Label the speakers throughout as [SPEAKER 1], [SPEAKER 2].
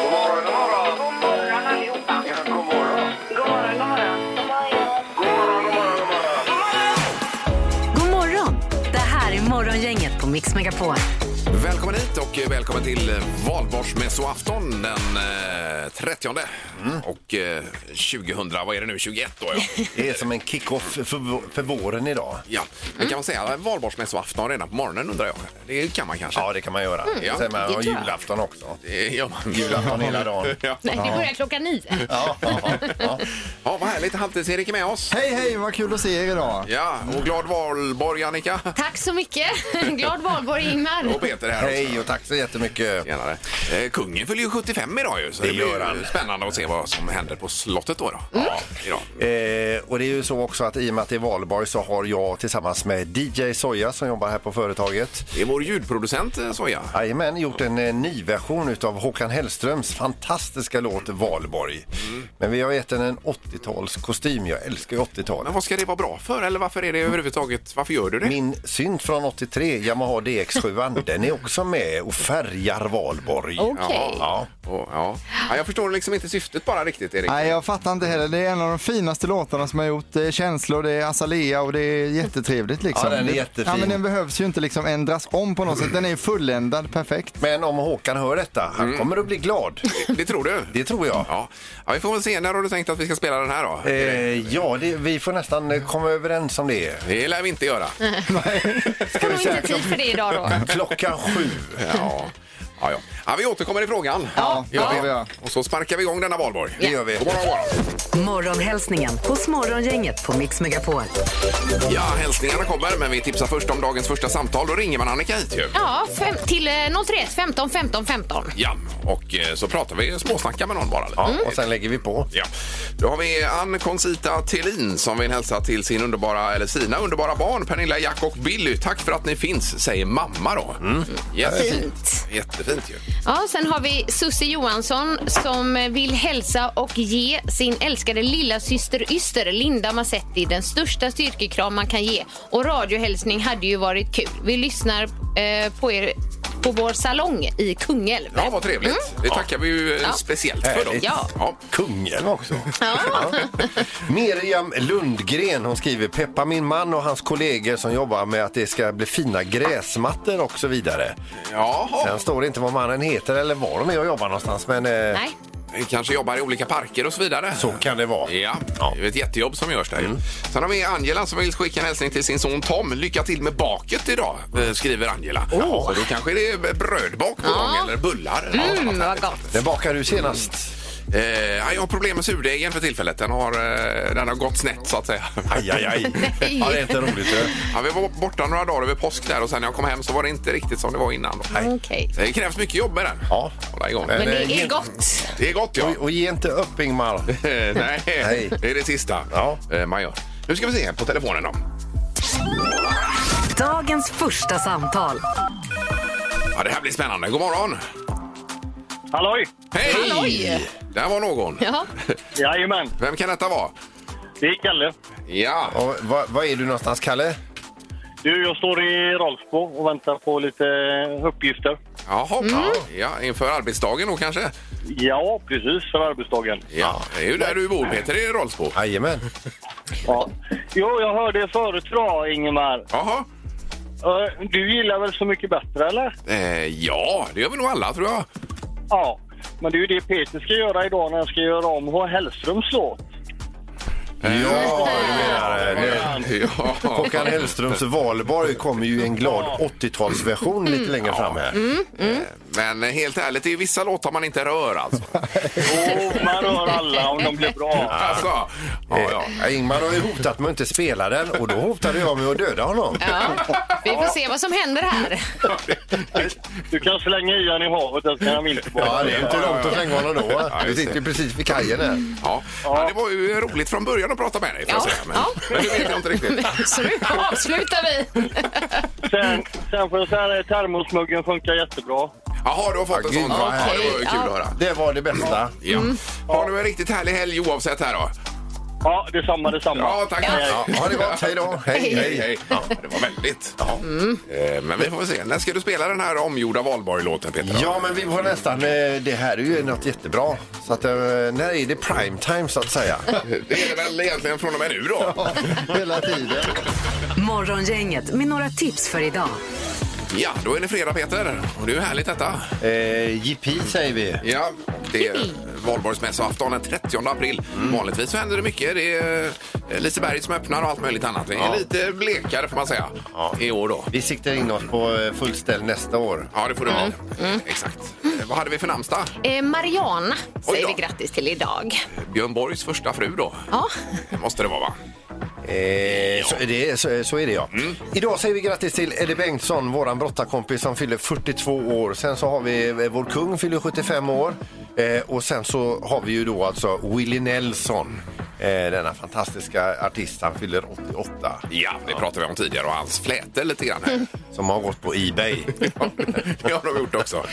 [SPEAKER 1] God morgon, god morgon. God morgon allihopa. Ja, god morgon. God morgon, god morgon. God morgon, god morgon, god
[SPEAKER 2] God
[SPEAKER 1] morgon.
[SPEAKER 2] morgon! Det här är Morgongänget på Mix Megapol.
[SPEAKER 3] Välkommen hit och välkommen till valborgsmässoafton den eh, 30.
[SPEAKER 4] Mm.
[SPEAKER 3] Och eh, 2000, vad är det nu, 21 då? Ja.
[SPEAKER 4] Det är som en kick-off för, vå- för våren idag.
[SPEAKER 3] ja. Men
[SPEAKER 4] Mm.
[SPEAKER 3] kan man säga eh, valborgsmässoafton redan på morgonen undrar jag? Det kan man kanske? Mm,
[SPEAKER 4] Ja, det kan man göra.
[SPEAKER 3] Ja.
[SPEAKER 4] Sen man
[SPEAKER 5] Det
[SPEAKER 4] har
[SPEAKER 5] tror jag.
[SPEAKER 4] julafton också.
[SPEAKER 3] det gör man.
[SPEAKER 4] Julafton hela dagen.
[SPEAKER 3] Ja.
[SPEAKER 5] Nej, det börjar klockan nio.
[SPEAKER 4] Ja, ja, ja.
[SPEAKER 3] ja, vad härligt. Halvtids-Erik är med oss.
[SPEAKER 6] Hej, hej, vad kul att se er idag.
[SPEAKER 3] Ja, och glad valborg Annika.
[SPEAKER 5] Tack så mycket. Glad valborg, Ingmar.
[SPEAKER 3] Och Peter här också.
[SPEAKER 4] Hej och tack så jättemycket.
[SPEAKER 3] Tjenare. Eh, kungen fyller ju 75 idag ju, så det, blir
[SPEAKER 4] gör
[SPEAKER 3] ju
[SPEAKER 4] han.
[SPEAKER 3] spännande att se vad som händer på slottet då. då. Ja, idag.
[SPEAKER 4] Eh, och det är ju så också att i och med att det är valborg så har jag tillsammans med DJ Soja som jobbar här på företaget
[SPEAKER 3] Det är vår ljudproducent eh, Soja.
[SPEAKER 4] Jajamän, gjort en eh, ny version utav Håkan Hellströms fantastiska låt Valborg.
[SPEAKER 3] Mm.
[SPEAKER 4] Men vi har gett den en 80-talskostym. Jag älskar ju 80-tal.
[SPEAKER 3] Men vad ska det vara bra för? Eller varför är det överhuvudtaget? Varför gör du det?
[SPEAKER 4] Min synt från 83, Yamaha DX7, den är också med och färgar Valborg.
[SPEAKER 5] Okej.
[SPEAKER 3] Ja, ja, ja. ja, jag förstår liksom inte syftet bara riktigt, Erik.
[SPEAKER 6] Nej, jag fattar inte heller. Det är en av de finaste låtarna som jag gjort. Det är känslor, det är Azalea och det är jättetrevligt liksom.
[SPEAKER 4] Ja, den är jättefin.
[SPEAKER 6] Ja, men den behövs ju inte liksom ändras om på något sätt. Den är ju fulländad, perfekt.
[SPEAKER 4] Men om Håkan hör detta, han kommer att bli glad.
[SPEAKER 3] Mm. Det tror du?
[SPEAKER 4] Det tror jag.
[SPEAKER 3] Ja. ja, vi får väl se. När har du tänkt att vi ska spela den här då?
[SPEAKER 4] Eh, ja, det, vi får nästan eh, komma överens om det.
[SPEAKER 3] Det lär vi inte göra.
[SPEAKER 5] Får nog inte tid för det idag då.
[SPEAKER 4] Klockan sju.
[SPEAKER 3] Ja. Ja, ja. ja, vi återkommer i frågan.
[SPEAKER 6] Ja, det får vi göra.
[SPEAKER 3] Och så sparkar vi igång denna valborg.
[SPEAKER 4] Det gör vi.
[SPEAKER 3] God morgon, god morgon.
[SPEAKER 2] Morgonhälsningen hos Morgongänget på Mix Megapol.
[SPEAKER 3] Ja, hälsningarna kommer, men vi tipsar först om dagens första samtal. Då ringer man Annika hit ju.
[SPEAKER 5] Ja, fem, till eh, 031 15 15 15.
[SPEAKER 3] Ja, och eh, så pratar vi småsnackar med någon bara. Lite.
[SPEAKER 4] Ja, Och sen lägger vi på.
[SPEAKER 3] Ja. Då har vi Ann Concita Thelin som vill hälsa till sin underbara, eller sina underbara barn Pernilla, Jack och Billy. Tack för att ni finns, säger mamma då.
[SPEAKER 4] Mm.
[SPEAKER 3] Jättefint. Jättefint ju.
[SPEAKER 5] Ja, sen har vi Susie Johansson som eh, vill hälsa och ge sin älskade lilla syster Yster, Linda Massetti, den största styrkekram man kan ge. Och radiohälsning hade ju varit kul. Vi lyssnar eh, på er på vår salong i Kungälv. Mm.
[SPEAKER 3] Ja, vad trevligt. Det tackar vi ju eh, speciellt för dem.
[SPEAKER 4] Härligt.
[SPEAKER 5] Ja.
[SPEAKER 4] Kungen också. Miriam Lundgren hon skriver Peppa min man och hans kollegor som jobbar med att det ska bli fina gräsmattor och så vidare.
[SPEAKER 3] Jaha.
[SPEAKER 4] Sen står det inte vad mannen heter eller var de är och jobbar någonstans men eh,
[SPEAKER 5] Nej.
[SPEAKER 3] Vi kanske jobbar i olika parker och så vidare.
[SPEAKER 4] så kan det vara. Mm.
[SPEAKER 3] Ja, det är ett jättejobb som görs där. ju. Sen har vi Angela som vill skicka en hälsning till sin son Tom. Lycka till med baket idag, eh, skriver Angela. Oh. Så då kanske det är brödbak på gång eller bullar. Eller något
[SPEAKER 5] Mm,
[SPEAKER 3] annat
[SPEAKER 5] vad
[SPEAKER 3] härligt.
[SPEAKER 5] gott.
[SPEAKER 4] När bakade du senast?
[SPEAKER 3] Eh, ja, jag har problem med surdegen för tillfället. Den har, eh, den har gått snett så att säga.
[SPEAKER 4] Aj, aj, aj. Ja, det är inte roligt. du.
[SPEAKER 3] Ja, vi var borta några dagar över påsk där och sen när jag kom hem så var det inte riktigt som det var innan. Då.
[SPEAKER 5] Okej.
[SPEAKER 3] Det krävs mycket jobb med den.
[SPEAKER 4] Ja.
[SPEAKER 3] Hålla igång.
[SPEAKER 5] Men
[SPEAKER 4] eh,
[SPEAKER 5] det är
[SPEAKER 4] ge-
[SPEAKER 5] gott.
[SPEAKER 3] Det är gott ja.
[SPEAKER 4] Och, och ge inte upp Ingmar.
[SPEAKER 3] Eh, Nej,
[SPEAKER 4] Nej.
[SPEAKER 3] det är det sista
[SPEAKER 4] Ja.
[SPEAKER 3] eh, man gör. Nu ska vi se på telefonen då.
[SPEAKER 2] Dagens första samtal.
[SPEAKER 3] Ja, det här blir spännande. God morgon!
[SPEAKER 7] Halloj!
[SPEAKER 3] Hej!
[SPEAKER 5] Halloj!
[SPEAKER 3] Där var någon.
[SPEAKER 5] Ja.
[SPEAKER 7] Jajamän,
[SPEAKER 3] Vem kan detta vara?
[SPEAKER 7] det är Kalle.
[SPEAKER 3] Ja,
[SPEAKER 4] Och va- Var är du någonstans Kalle?
[SPEAKER 7] Du, jag står i Rolfsbo och väntar på lite uppgifter.
[SPEAKER 3] jaha.
[SPEAKER 5] Mm.
[SPEAKER 3] Ja, inför arbetsdagen då kanske?
[SPEAKER 7] Ja, precis, för arbetsdagen.
[SPEAKER 3] Ja, det är ju där du bor Peter, i Rolfsbo.
[SPEAKER 4] Jajamän.
[SPEAKER 7] Ja. Jo, jag hörde förut då, Ingemar.
[SPEAKER 3] Jaha.
[SPEAKER 7] Eh, Du gillar väl Så mycket bättre, eller?
[SPEAKER 3] Eh, ja, det gör vi nog alla tror jag.
[SPEAKER 7] Ja. Men det är ju det Peter ska göra idag när han ska göra om H. Hellströms låt.
[SPEAKER 4] Ja, du menar det.
[SPEAKER 3] Ja.
[SPEAKER 4] Håkan Hellströms Valborg kommer ju i en glad 80-talsversion lite längre fram här.
[SPEAKER 3] Men helt ärligt, det är ju vissa låtar man inte rör alltså.
[SPEAKER 7] Och man rör alla om de blir bra.
[SPEAKER 3] alltså ja, ja.
[SPEAKER 4] Eh, Ingmar har ju hotat med att inte spela den och då hotade jag med att döda honom.
[SPEAKER 5] ja. Vi får se vad som händer här.
[SPEAKER 7] Du kan slänga i han i havet, den kan han vinterbada.
[SPEAKER 4] Ja, det är ju inte långt att slänga honom då. Du sitter ju precis vid kajen här.
[SPEAKER 3] Ja. Ja, det var ju roligt från början och prata med dig. får jag
[SPEAKER 5] Ja,
[SPEAKER 3] säga. Men,
[SPEAKER 5] ja.
[SPEAKER 3] men det vet jag inte riktigt.
[SPEAKER 5] Men, så nu avslutar vi.
[SPEAKER 7] Sen, sen får jag säga att termosmuggen funkar jättebra.
[SPEAKER 3] Jaha, du har fått en sån.
[SPEAKER 4] vad
[SPEAKER 3] Ja, det var ju kul
[SPEAKER 5] härligt. Ja.
[SPEAKER 3] att höra.
[SPEAKER 4] Det var det bästa.
[SPEAKER 3] Ja. Ha nu en riktigt härlig helg oavsett här då.
[SPEAKER 7] Ja, detsamma, detsamma.
[SPEAKER 3] Ja, tack.
[SPEAKER 4] Ja, ha det gott. Hej då. Hej,
[SPEAKER 3] Hej, hej. Ja, det var väldigt. Ja. Eh, Men vi får väl se. När ska du spela den här omgjorda valborg-låten, Peter?
[SPEAKER 4] Ja, men vi var nästan... eh, Det här är ju något jättebra. Så att, eh, när är det prime time, så att säga?
[SPEAKER 3] Det är det väl egentligen från och med nu då?
[SPEAKER 4] Hela tiden.
[SPEAKER 2] Morgongänget med några tips för idag.
[SPEAKER 3] Ja, då är det fredag, Peter. Och det är ju härligt detta.
[SPEAKER 4] Eh, jippi, säger vi.
[SPEAKER 3] Ja, det är valborgsmässoafton den 30 april.
[SPEAKER 4] Mm.
[SPEAKER 3] Vanligtvis så händer det mycket. Det är eh, Liseberg som öppnar och allt möjligt annat. Det är lite blekare får man säga i år då.
[SPEAKER 4] Vi siktar in oss på eh, full ställ nästa år. Mm.
[SPEAKER 3] Ja, det får det vara.
[SPEAKER 5] Mm.
[SPEAKER 3] Exakt. Eh, Vad hade vi för namnsdag?
[SPEAKER 5] Eh, Mariana
[SPEAKER 3] Oj
[SPEAKER 5] säger vi
[SPEAKER 3] då.
[SPEAKER 5] grattis till idag.
[SPEAKER 3] Björn Borgs första fru då.
[SPEAKER 5] Ja.
[SPEAKER 3] Det måste det vara, va?
[SPEAKER 4] Eh, så, är det, så, så är det ja.
[SPEAKER 3] Mm.
[SPEAKER 4] Idag säger vi grattis till Eddie Bengtsson, våran brottarkompis som fyller 42 år. Sen så har vi eh, vår kung fyller 75 år. Eh, och sen så har vi ju då alltså Willie Nelson. Eh, denna fantastiska artist, han fyller 88.
[SPEAKER 3] Ja, det pratade vi om tidigare och hans fläte lite grann här.
[SPEAKER 4] Som har gått på Ebay.
[SPEAKER 3] Ja, det har de gjort också.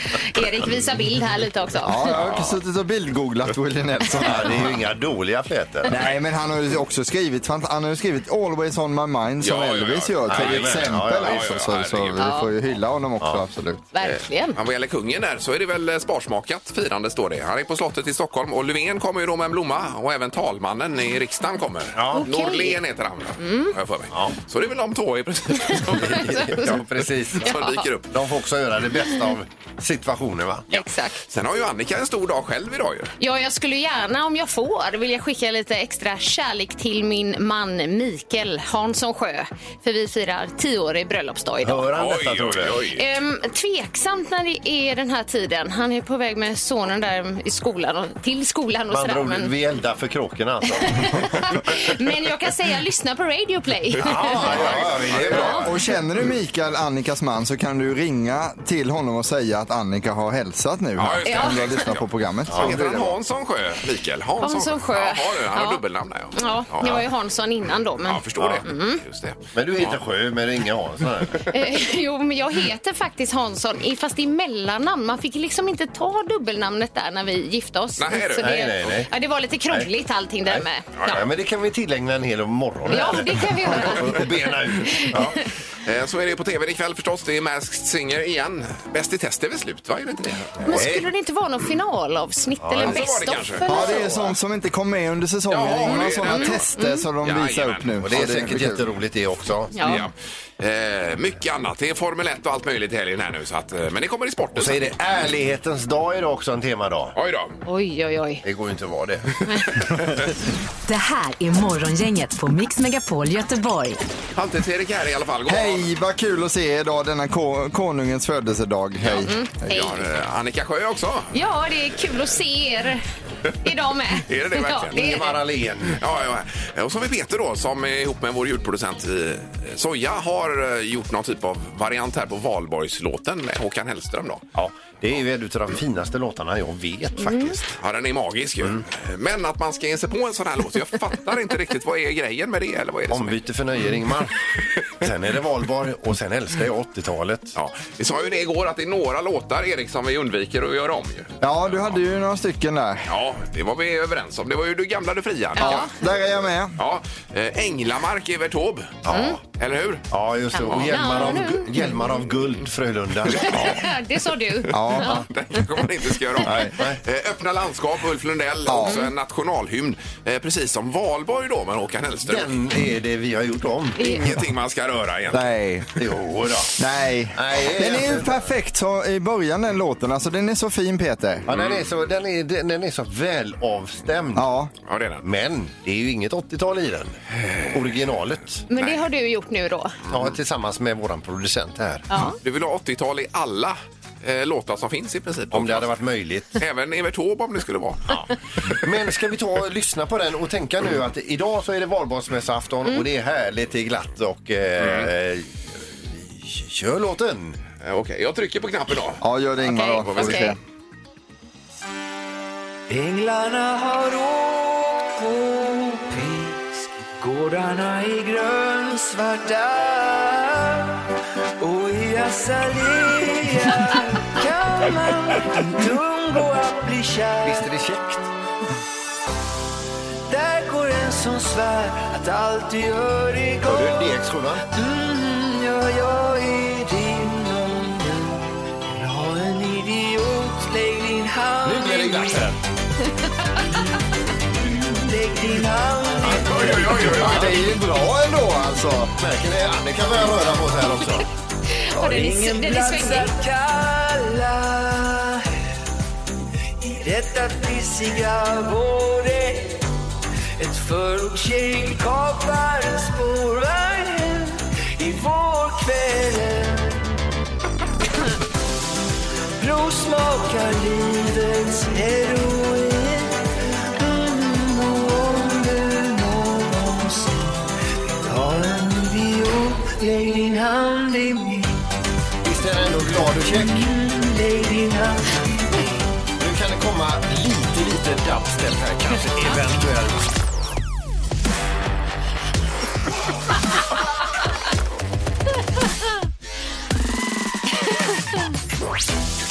[SPEAKER 5] Erik visar bild här lite också.
[SPEAKER 6] Ja, jag har suttit och bildgooglat Willie Nelson
[SPEAKER 4] ja,
[SPEAKER 6] här.
[SPEAKER 4] det är ju inga dåliga flätor.
[SPEAKER 6] Nej, men han har ju också skrivit, han han har ju skrivit Always on my mind som
[SPEAKER 3] Ja, ja, ja.
[SPEAKER 6] Elvis gör till
[SPEAKER 4] Jajamän.
[SPEAKER 6] exempel.
[SPEAKER 4] Ja, ja, ja,
[SPEAKER 6] alltså,
[SPEAKER 3] ja,
[SPEAKER 6] så, så
[SPEAKER 3] herregud.
[SPEAKER 6] vi får ju hylla honom också absolut.
[SPEAKER 5] Verkligen.
[SPEAKER 3] Men vad gäller kungen där så är det väl eh, sparsmakat firande står det. Han är på slottet i Stockholm och Löfven kommer ju då med en blomma och även talmannen i riksdagen kommer. Ja.
[SPEAKER 5] Okej.
[SPEAKER 3] Norlén heter han mm. jag för mig. Så det är väl de två i princip som,
[SPEAKER 4] Ja, precis.
[SPEAKER 3] som dyker upp.
[SPEAKER 4] De får också göra det bästa av situationen va?
[SPEAKER 5] Exakt.
[SPEAKER 3] Sen har ju Annika en stor dag själv idag ju.
[SPEAKER 5] Ja, jag skulle gärna om jag får vilja skicka lite extra kärlek till min man Mikael Hansson Sjö. För vi firar tioårig bröllopsdag idag.
[SPEAKER 4] Hör han detta tror du?
[SPEAKER 5] Ehm, tveksamt när det är den här tiden. Han är på väg med sonen där i skolan och, till skolan och
[SPEAKER 4] Man
[SPEAKER 5] sådär.
[SPEAKER 4] drog,
[SPEAKER 5] Men,
[SPEAKER 4] vi eldar för kråkorna alltså.
[SPEAKER 5] men jag kan säga lyssna på Radio Play.
[SPEAKER 4] Ja, ja, ja, det är bra.
[SPEAKER 6] Och känner du Mikael, Annikas man, så kan du ringa till honom och säga att Annika har hälsat nu.
[SPEAKER 3] Ja,
[SPEAKER 6] här,
[SPEAKER 3] just det.
[SPEAKER 6] Om du har lyssnat på programmet.
[SPEAKER 3] Ja. Heter han Hansson Sjö, Mikael? Hansson,
[SPEAKER 5] Hansson Sjö.
[SPEAKER 3] Ja, har du. han har
[SPEAKER 5] Ja.
[SPEAKER 3] dubbelnamn där
[SPEAKER 5] Ja, det var ju Hansson innan då. Men...
[SPEAKER 3] Ja, jag förstår det. Just det.
[SPEAKER 4] Mm. Men du heter Sjö, men det är ingen Hansson här.
[SPEAKER 5] Eh, jo, men jag heter faktiskt Hansson, i- fast i mellannamn. Man fick liksom inte ta dubbelnamnet där när vi gifte oss.
[SPEAKER 3] Nej, du.
[SPEAKER 5] det,
[SPEAKER 4] Nej, nej, nej.
[SPEAKER 5] Ja, det var lite krångligt allting där med.
[SPEAKER 4] Ja, men det kan vi tillägna en hel morgon.
[SPEAKER 5] Ja, det kan vi göra.
[SPEAKER 4] Och bena ut.
[SPEAKER 3] Ja. Eh, Så är det på tv ikväll förstås. Det är Masked Singer igen. Bäst i test är väl slut, va? Är det inte det?
[SPEAKER 5] Men skulle det inte vara någon finalavsnitt eller
[SPEAKER 3] så var det
[SPEAKER 5] best of?
[SPEAKER 3] kanske.
[SPEAKER 5] eller
[SPEAKER 6] Ja,
[SPEAKER 5] så?
[SPEAKER 6] det är sånt som inte kom med under säsongen.
[SPEAKER 3] Ja, det är
[SPEAKER 6] Inga
[SPEAKER 3] det.
[SPEAKER 6] sådana tester eh, som de
[SPEAKER 3] Mm.
[SPEAKER 6] visar upp nu.
[SPEAKER 4] Och det är
[SPEAKER 6] Så
[SPEAKER 4] säkert
[SPEAKER 6] blir kul.
[SPEAKER 4] jätteroligt det också.
[SPEAKER 5] Ja.
[SPEAKER 3] Ja. Eh, mycket annat. Det är Formel 1 och allt möjligt i helgen här nu. Så att, eh, men det kommer i sporten.
[SPEAKER 4] Och så är det ärlighetens dag idag också, en temadag.
[SPEAKER 3] Oj då.
[SPEAKER 5] Oj, oj, oj.
[SPEAKER 4] Det går ju inte att vara det.
[SPEAKER 2] Det här är Morgongänget på Mix Megapol Göteborg.
[SPEAKER 3] Halvtids-Erik här i alla fall. God morgon.
[SPEAKER 6] Hej, vad kul att se er idag, denna ko- konungens födelsedag. Hej.
[SPEAKER 4] Mm.
[SPEAKER 5] Hej.
[SPEAKER 3] Vi har eh, Annika Sjö också.
[SPEAKER 5] Ja, det är kul att se er idag med.
[SPEAKER 3] Är det det verkligen?
[SPEAKER 5] Ja, det är
[SPEAKER 4] Ingemar
[SPEAKER 5] det.
[SPEAKER 4] Ahlén.
[SPEAKER 3] Ja, ja. Eh, Och så har vi Peter då som är ihop med vår ljudproducent eh, Soja har eh, gjort någon typ av variant här på Valborgslåten med Håkan Hellström då.
[SPEAKER 4] Ja, det är ju en av de finaste låtarna jag vet
[SPEAKER 5] Mm.
[SPEAKER 4] faktiskt. Mm.
[SPEAKER 3] Ja, den är magisk ju. Men att man ska ge sig på en sån här låt, jag fattar inte riktigt vad är grejen med det eller vad är det som är?
[SPEAKER 4] Ombyte för nöje, Ingmar. Sen är det valborg och sen älskar jag 80-talet.
[SPEAKER 3] Ja, vi sa ju det igår att det är några låtar Erik som vi undviker att göra om ju.
[SPEAKER 6] Ja, du hade ju några stycken där.
[SPEAKER 3] Ja, det var vi överens om. Det var ju du gamla du fria. Ja.
[SPEAKER 6] Där är jag med.
[SPEAKER 3] ja. eh, Änglamark i Vertob. Ja. Eller hur?
[SPEAKER 4] Ja, just det. Och hjälmar av, gu- hjälmar av guld, Frölunda. Ja.
[SPEAKER 5] Det sa du.
[SPEAKER 6] Ja.
[SPEAKER 3] Den kanske man inte ska göra om.
[SPEAKER 4] Nej, nej.
[SPEAKER 3] Eh, Öppna landskap, Ulf Lundell, också en nationalhymn. Eh, Precis som Valborg då med Håkan Hellström.
[SPEAKER 4] Den är det vi har gjort om.
[SPEAKER 3] Ingenting man ska röra egentligen.
[SPEAKER 6] Nej.
[SPEAKER 4] Jo då.
[SPEAKER 6] Nej.
[SPEAKER 4] Nej,
[SPEAKER 6] Den är ju perfekt så, i början den låten. Alltså den är så fin Peter.
[SPEAKER 4] Ja, den, är så, den, är, den är så väl avstämd.
[SPEAKER 6] Mm. Ja.
[SPEAKER 3] Ja, det är den.
[SPEAKER 4] Men det är ju inget 80-tal i den. Originalet.
[SPEAKER 5] Men det har du gjort nu då.
[SPEAKER 4] Ja, tillsammans med våran producent här.
[SPEAKER 3] Du vill ha 80-tal i alla eh, låtar som finns i princip.
[SPEAKER 4] Om det hade varit möjligt.
[SPEAKER 3] Även Evert Taube om det skulle vara.
[SPEAKER 4] Men ska vi ta och lyssna på den och tänka nu att idag så är det valborgsmässoafton
[SPEAKER 5] Mm.
[SPEAKER 4] och det är härligt, det är glatt och... Eh, Kör låten!
[SPEAKER 3] Mm. Eh, Okej, jag trycker på knappen då.
[SPEAKER 6] Ja, gör det Ingmar då.
[SPEAKER 5] Okej,
[SPEAKER 6] Får vi se.
[SPEAKER 5] okej.
[SPEAKER 8] Änglarna har åkt på pit Blommorna är grönsvarta och i azalea kan man inte undgå att bli kär.
[SPEAKER 4] Visst är det käckt?
[SPEAKER 8] Där går en som svär att allt du gör är
[SPEAKER 4] Hör
[SPEAKER 8] gott.
[SPEAKER 4] du DX-skivan?
[SPEAKER 8] Mm, ja, jag är din om du vill ha en idiot. Lägg din hand
[SPEAKER 3] Nu blir det glatt här.
[SPEAKER 8] Lägg din hand i
[SPEAKER 3] Oj, oj, oj, oj,
[SPEAKER 4] Ja,
[SPEAKER 3] oj.
[SPEAKER 4] det är ju bra ändå alltså. Märker ni? Annika börjar röra på sig här också.
[SPEAKER 5] Och den är, den är svängig.
[SPEAKER 8] att kalla I detta pissiga vårde Ett förortstjej kapar en spårvagn hem I vårkvällen Provsmakar livets heroin mm, och om du någonsin vill ha en idiot, lägg din hand i min
[SPEAKER 4] Visst är den ändå glad och käck? Nu kan det komma lite, lite dubstep här kanske, eventuellt.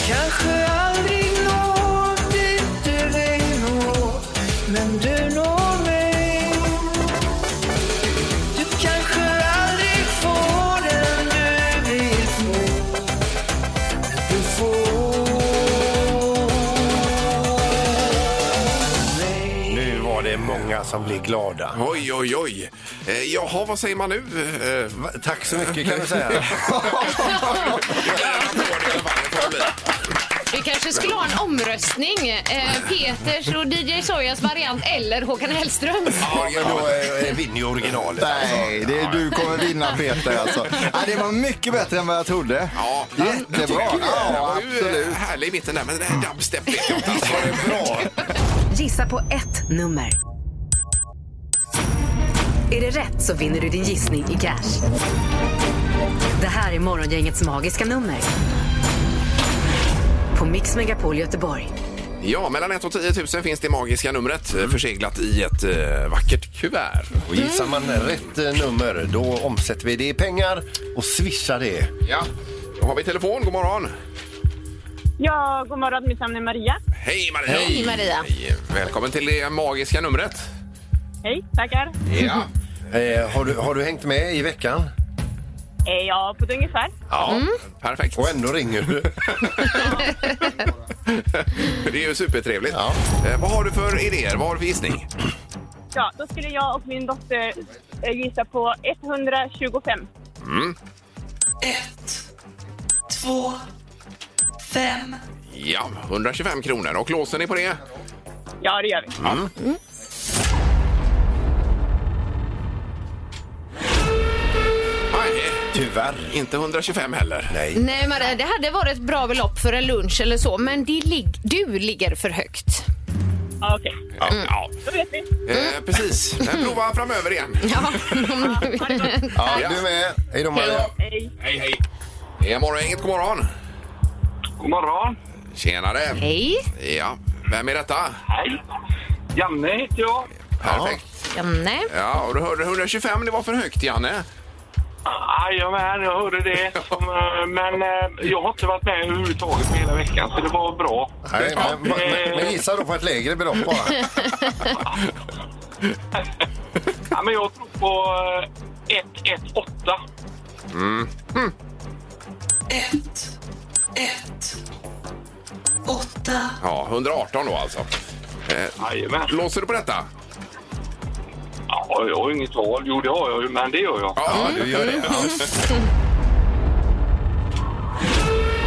[SPEAKER 8] Kanske aldrig når dit du vill nå Men du når mig Du kanske aldrig får den du vill få Men du får mig
[SPEAKER 4] Nu var det många som blev glada.
[SPEAKER 3] Oj, oj, oj. Eh, jaha, vad säger man nu? Eh,
[SPEAKER 4] Va- Tack så mycket kan du säga.
[SPEAKER 5] Vi kanske skulle ha en omröstning. Eh, Peters och DJ Sojas variant eller Håkan Hellströms.
[SPEAKER 4] Ja, men då eh, vinner ju originalet.
[SPEAKER 6] Nej, det är, du kommer vinna Peter alltså. Ja, det var mycket bättre än vad jag trodde.
[SPEAKER 3] Ja,
[SPEAKER 6] Jättebra.
[SPEAKER 3] Den
[SPEAKER 6] Ja,
[SPEAKER 3] var ju eh,
[SPEAKER 6] absolut.
[SPEAKER 3] härlig i mitten där, men det här dubstep vet jag inte alls vad det är.
[SPEAKER 4] Bra.
[SPEAKER 2] Gissa på ett nummer. Är det rätt så vinner du din gissning i cash. Det här är Morgongängets magiska nummer. På Mix Megapol Göteborg.
[SPEAKER 3] Ja, mellan 1 och 10 000 finns det magiska numret eh, förseglat i ett eh, vackert kuvert. Mm.
[SPEAKER 4] Och gissar man rätt eh, nummer, då omsätter vi det i pengar och swishar det.
[SPEAKER 3] Ja. Då har vi telefon. God morgon.
[SPEAKER 9] Ja, god morgon. Mitt namn är Maria.
[SPEAKER 3] Hej Maria!
[SPEAKER 5] Hej, Maria.
[SPEAKER 3] Hej. Välkommen till det magiska numret.
[SPEAKER 9] Hej, tackar.
[SPEAKER 3] Ja.
[SPEAKER 4] Eh, har, du, har du hängt med i veckan?
[SPEAKER 9] Eh, Ja, på ett ungefär.
[SPEAKER 3] ja.
[SPEAKER 4] Mm.
[SPEAKER 5] Mm.
[SPEAKER 3] Perfekt.
[SPEAKER 4] Och ändå ringer du.
[SPEAKER 3] Det är ju supertrevligt.
[SPEAKER 4] Ja.
[SPEAKER 3] Eh, vad har du för idéer? Vad har du för gissning?
[SPEAKER 9] Ja, då skulle jag och min dotter eh, gissa på 125.
[SPEAKER 3] Mm.
[SPEAKER 8] Ett, två, fem
[SPEAKER 3] Ja, 125 kronor. Och låser ni på det?
[SPEAKER 9] Ja, det gör vi.
[SPEAKER 4] Mm.
[SPEAKER 3] Nej,
[SPEAKER 4] Tyvärr.
[SPEAKER 3] inte 125 heller.
[SPEAKER 4] Nej.
[SPEAKER 5] Nej Maria, det hade varit ett bra belopp för en lunch eller så, men det lig- du ligger för högt.
[SPEAKER 9] Ja, Okej,
[SPEAKER 3] Ja.
[SPEAKER 4] Mm.
[SPEAKER 3] Ja.
[SPEAKER 9] då vet vi.
[SPEAKER 3] Eh, precis. Men prova framöver igen.
[SPEAKER 5] Ja.
[SPEAKER 4] Ja, du är med. Mm. Hej då, Maria.
[SPEAKER 9] Hej.
[SPEAKER 3] Hej, hej. Det är morgongänget. God morgon.
[SPEAKER 7] God morgon.
[SPEAKER 3] Tjenare.
[SPEAKER 5] Hej,
[SPEAKER 3] Ja. Vem är detta?
[SPEAKER 7] Hej. Janne heter jag.
[SPEAKER 3] Perfekt.
[SPEAKER 5] Janne.
[SPEAKER 3] Ja, och du hörde 125. Det var för högt, Janne.
[SPEAKER 7] Jajamän, Ah, jag hörde det. Som, eh, Men eh, jag har inte varit med överhuvudtaget på hela veckan, så det var bra. Eh,
[SPEAKER 4] Nej, men,
[SPEAKER 7] Ja.
[SPEAKER 4] men, men gissa då på ett lägre belopp bara.
[SPEAKER 7] Ja, men jag tror på eh, 118.
[SPEAKER 3] Mm,
[SPEAKER 8] ett, ett, åtta
[SPEAKER 3] Ja, 118 då alltså. Eh,
[SPEAKER 7] Jajamän.
[SPEAKER 3] låser du på detta?
[SPEAKER 7] Ja, jag har inget val. Jo, det har jag ju, men det gör jag.
[SPEAKER 3] Ja,
[SPEAKER 4] Du gör det. Ja.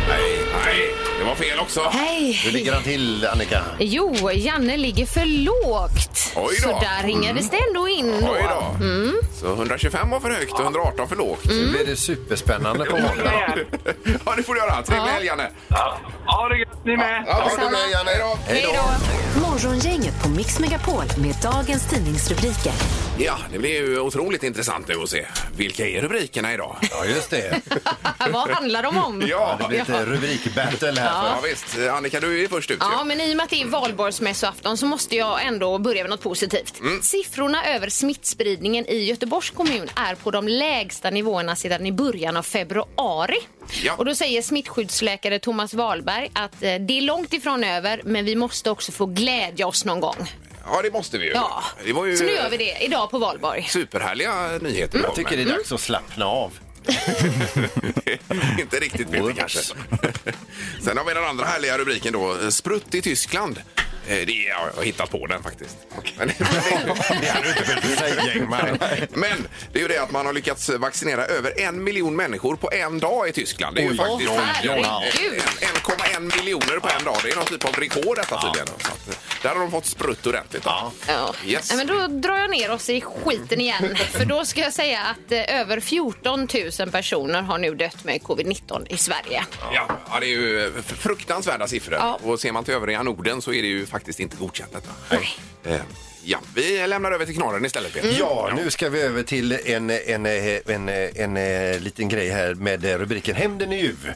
[SPEAKER 3] nej, nej. Det var fel också.
[SPEAKER 5] Hej.
[SPEAKER 4] Hur ligger han till, Annika?
[SPEAKER 5] Jo, Janne ligger för lågt.
[SPEAKER 3] Oj då.
[SPEAKER 5] Så där ringades det ändå in då. Mm.
[SPEAKER 3] Oj då. Så 125 var för högt och 118 för lågt.
[SPEAKER 4] Nu blir det superspännande på måndag.
[SPEAKER 3] Ja. ja, det får du göra. Trevlig helg, Janne.
[SPEAKER 7] Ha det gött, ni med!
[SPEAKER 3] Ja,
[SPEAKER 4] Ha det bra, Janne.
[SPEAKER 3] Hej då.
[SPEAKER 5] Hej då.
[SPEAKER 2] Morgongänget på Mix Megapol med dagens tidningsrubriker.
[SPEAKER 3] Ja, det blir ju otroligt intressant nu att se. Vilka är rubrikerna idag? Ja, just det.
[SPEAKER 5] Äh, Vad handlar de om?
[SPEAKER 3] ja,
[SPEAKER 5] det blir lite
[SPEAKER 3] rubrikbattle
[SPEAKER 5] här.
[SPEAKER 3] Ja. ja, visst. Eh, Annika, du är ju först ut. ju.
[SPEAKER 5] Ja, men i och med att det är valborgsmässoafton så måste jag ändå börja med något positivt.
[SPEAKER 3] Mm.
[SPEAKER 5] Siffrorna över smittspridningen i Göteborgs kommun är på de lägsta nivåerna sedan i början av februari. Och då säger smittskyddsläkare Thomas Wahlberg att eh, det är långt ifrån över, men vi måste också få glädja oss någon gång.
[SPEAKER 3] Ja, det måste vi ju.
[SPEAKER 5] Ja.
[SPEAKER 3] Det var ju
[SPEAKER 5] Så nu gör vi det, idag på valborg.
[SPEAKER 3] superhärliga nyheter.
[SPEAKER 4] Jag tycker det är dags att slappna av.
[SPEAKER 3] Inte riktigt Peter kanske. Sen har vi den andra härliga rubriken då. Sprutt i Tyskland. Eh, Det är, jag har hittat på den faktiskt. Men, det hade du inte behövt säga Ingmar. Men det är ju det att man har lyckats vaccinera över en miljon människor på en dag i Tyskland. Det är ju
[SPEAKER 4] Oj,
[SPEAKER 3] faktiskt
[SPEAKER 4] oj, oj, oj. Herregud.
[SPEAKER 3] Eh, 1,1 miljoner på en dag. Det är någon typ av rekord detta tydligen. Så att, eh, där har de fått sprutt ordentligt. då.
[SPEAKER 5] Ja.
[SPEAKER 3] Yes.
[SPEAKER 5] Nej, men då drar jag ner oss i skiten igen. För då ska jag säga att eh, över 14 000 personer har nu dött med covid-19 i Sverige.
[SPEAKER 3] Ja, ja, det är ju f- fruktansvärda siffror. Och ser man till övriga Norden så är det ju faktiskt inte godkänt detta. Eh, Ja, vi lämnar över till knorren istället Peter.
[SPEAKER 4] Ja, nu ska vi över till en, en, en, en, en, eh, liten grej här med eh, rubriken Hämnden är ljuv.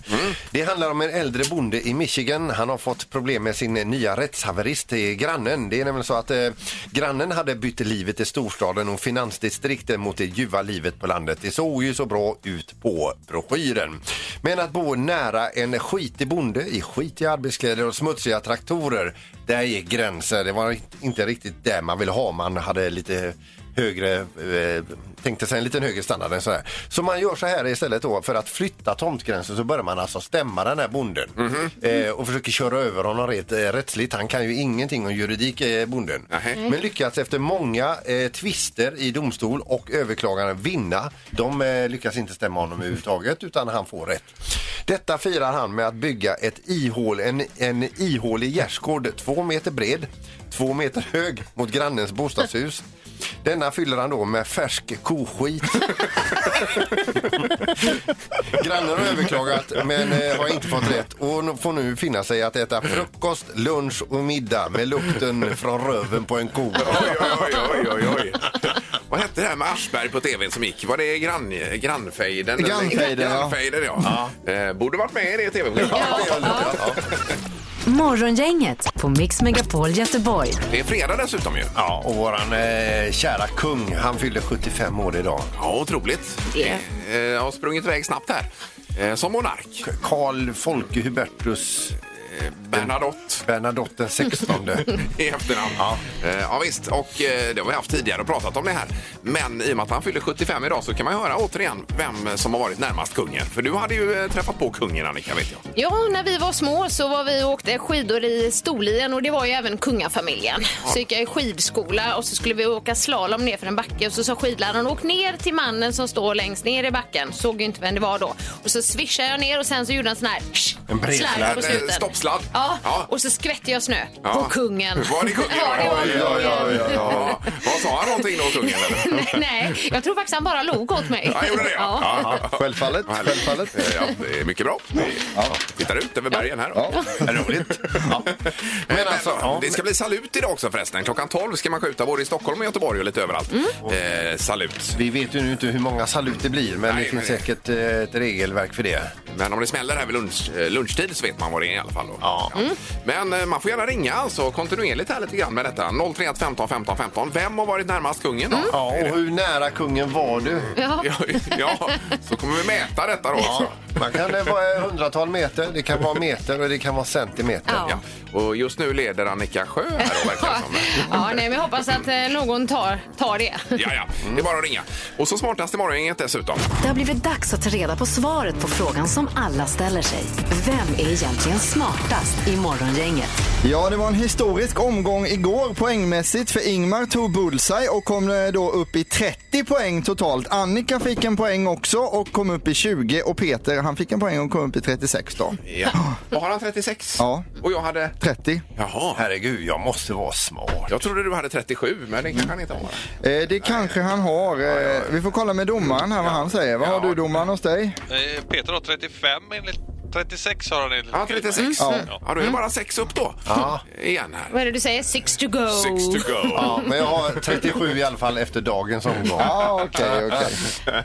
[SPEAKER 4] Det handlar om en äldre bonde i Michigan. Han har fått problem med sin eh, nya rättshaverist, eh, grannen. Det är nämligen så att eh, grannen hade bytt livet i storstaden och finansdistrikten mot det ljuva livet på landet. Det såg ju så bra ut på broschyren. Men att bo nära en skitig bonde i skitiga arbetskläder och smutsiga traktorer, där gick gränser. Det var inte riktigt där man ville ha. Man hade lite högre, eh, tänkte sig en liten högre standard än så här. Så man gör så här istället då, för att flytta tomtgränsen så börjar man alltså stämma den här bonden eh, och försöker köra över honom rätt, eh, rättsligt. Han kan ju ingenting om juridik, eh, bonden.
[SPEAKER 3] Nej.
[SPEAKER 4] Men lyckats efter många eh, tvister i domstol och överklaganden vinna. De eh, lyckas inte stämma honom överhuvudtaget utan han får rätt. Detta firar han med att bygga ett ihål, en, en ihålig gärdsgård två meter bred, två meter hög mot grannens bostadshus. Denna fyller han då med färsk koskit. Grannen har överklagat men eh, har inte fått rätt och nu- får nu finna sig att äta frukost, lunch och middag med lukten från röven på en ko.
[SPEAKER 3] Oj, oj, oj, oj. Vad hette det här med Aschberg på tvn som gick? Var det grann, eh, grannfejden? eller-
[SPEAKER 6] Grannfejden, ja.
[SPEAKER 3] grannfejden ja. Eh, Borde varit med i det tv-programmet.
[SPEAKER 2] Morgongänget på Mix Megapol Göteborg.
[SPEAKER 3] Det är fredag dessutom ju.
[SPEAKER 4] Ja, och våran eh, kära kung, han fyllde 75 år idag.
[SPEAKER 3] Ja, otroligt. Eh, Jag har sprungit iväg snabbt här. Eh, Som monark.
[SPEAKER 4] Karl Folke Hubertus
[SPEAKER 3] Eh, Bernadotte.
[SPEAKER 4] Bernadotte den 16.
[SPEAKER 3] i efternamn. Ja. ja visst, och eh, det har vi haft tidigare och pratat om det här. Men i och med att han fyller 75 idag så kan man ju höra återigen vem som har varit närmast kungen. För du hade ju eh, träffat på kungen Annika vet jag.
[SPEAKER 5] Ja, när vi var små så var vi och åkte skidor i Storlien och det var ju även kungafamiljen. Så gick jag i skidskola och så skulle vi åka slalom ner för en backe och så sa skidläraren åk ner till mannen som står längst ner i backen. Såg ju inte vem det var då. Och så swishade jag ner och sen så gjorde han sån här
[SPEAKER 4] En bredsläde.
[SPEAKER 5] slarv på slutet.
[SPEAKER 3] Eh, Stoppsladd.
[SPEAKER 5] Ja, och så skvätte jag snö
[SPEAKER 3] Ja.
[SPEAKER 5] på kungen.
[SPEAKER 3] Var det kungen?
[SPEAKER 5] Ja, det var
[SPEAKER 3] Oj, oj, oj, oj,
[SPEAKER 5] kungen.
[SPEAKER 3] oj. Vad sa han någonting då kungen eller?
[SPEAKER 5] Nej, Nej, jag tror faktiskt han bara log åt mig.
[SPEAKER 3] Ja, han gjorde det ja. ja.
[SPEAKER 6] Självfallet.
[SPEAKER 3] Vad härligt.
[SPEAKER 6] självfallet.
[SPEAKER 3] Eh, Ja, det är mycket bra. Vi Tittar ut över bergen här.
[SPEAKER 6] Ja.
[SPEAKER 3] Roligt. Men
[SPEAKER 4] alltså, ja.
[SPEAKER 3] det ska bli salut idag också förresten. Klockan 12 ska man skjuta både i Stockholm och Göteborg och lite överallt. Eh, salut.
[SPEAKER 4] Mm. Vi vet ju nu inte hur många salut det blir, men
[SPEAKER 3] Nej,
[SPEAKER 4] det finns
[SPEAKER 3] men-
[SPEAKER 4] säkert eh, ett regelverk för det.
[SPEAKER 3] Men om det smäller här vid lunch, eh, lunchtid så vet man vad det är i alla fall. Då.
[SPEAKER 4] Ja. Mm.
[SPEAKER 3] Men eh, man får gärna ringa alltså kontinuerligt här lite grann med detta. 031 15 15 15. Vem har varit närmast kungen då?
[SPEAKER 4] Mm. Ja, och hur nära kungen var du?
[SPEAKER 5] Ja.
[SPEAKER 3] Ja, ja, så kommer vi mäta detta då också.
[SPEAKER 4] Man kan det vara hundratal meter, det kan vara meter och det kan vara centimeter.
[SPEAKER 5] Ja.
[SPEAKER 3] Ja. Och just nu leder Annika Sjö här då, verkar det som.
[SPEAKER 5] Ja, nej, men jag hoppas att eh, någon tar, tar det.
[SPEAKER 3] Liksom. Ja, ja, det är bara att ringa. Och så smartast i morgongänget dessutom.
[SPEAKER 2] Det har blivit dags att ta reda på svaret på frågan som alla ställer sig. Vem är egentligen smartast i Morgongänget?
[SPEAKER 6] Ja, det var en historisk omgång igår poängmässigt för Ingmar tog bullseye och kom eh, då upp i 30 poäng totalt. Annika fick en poäng också och kom upp i 20 och Peter han fick en poäng och kom upp i 36 då.
[SPEAKER 3] Ja. Och har han 36?
[SPEAKER 6] Ja.
[SPEAKER 3] Och jag hade...
[SPEAKER 6] 30.
[SPEAKER 3] Jaha.
[SPEAKER 4] Herregud, jag måste vara smart.
[SPEAKER 3] Jag trodde du hade 37, men det kanske han inte
[SPEAKER 5] Mm.
[SPEAKER 3] har.
[SPEAKER 6] Eh, det kanske han har. Eh,
[SPEAKER 10] Eh,
[SPEAKER 6] Vi får kolla med domaren här vad han säger. Vad har du domaren hos dig?
[SPEAKER 7] Peter har 35 enligt
[SPEAKER 10] 36 har han enligt
[SPEAKER 3] Ja, 36. Ja.
[SPEAKER 10] Mm.
[SPEAKER 3] då är det bara sex upp då. Igen här.
[SPEAKER 5] Vad är det du säger? Six to go.
[SPEAKER 3] Six to go.
[SPEAKER 4] Ja, men jag har 37 i alla fall efter dagens omgång.
[SPEAKER 6] Ja, okej, okej.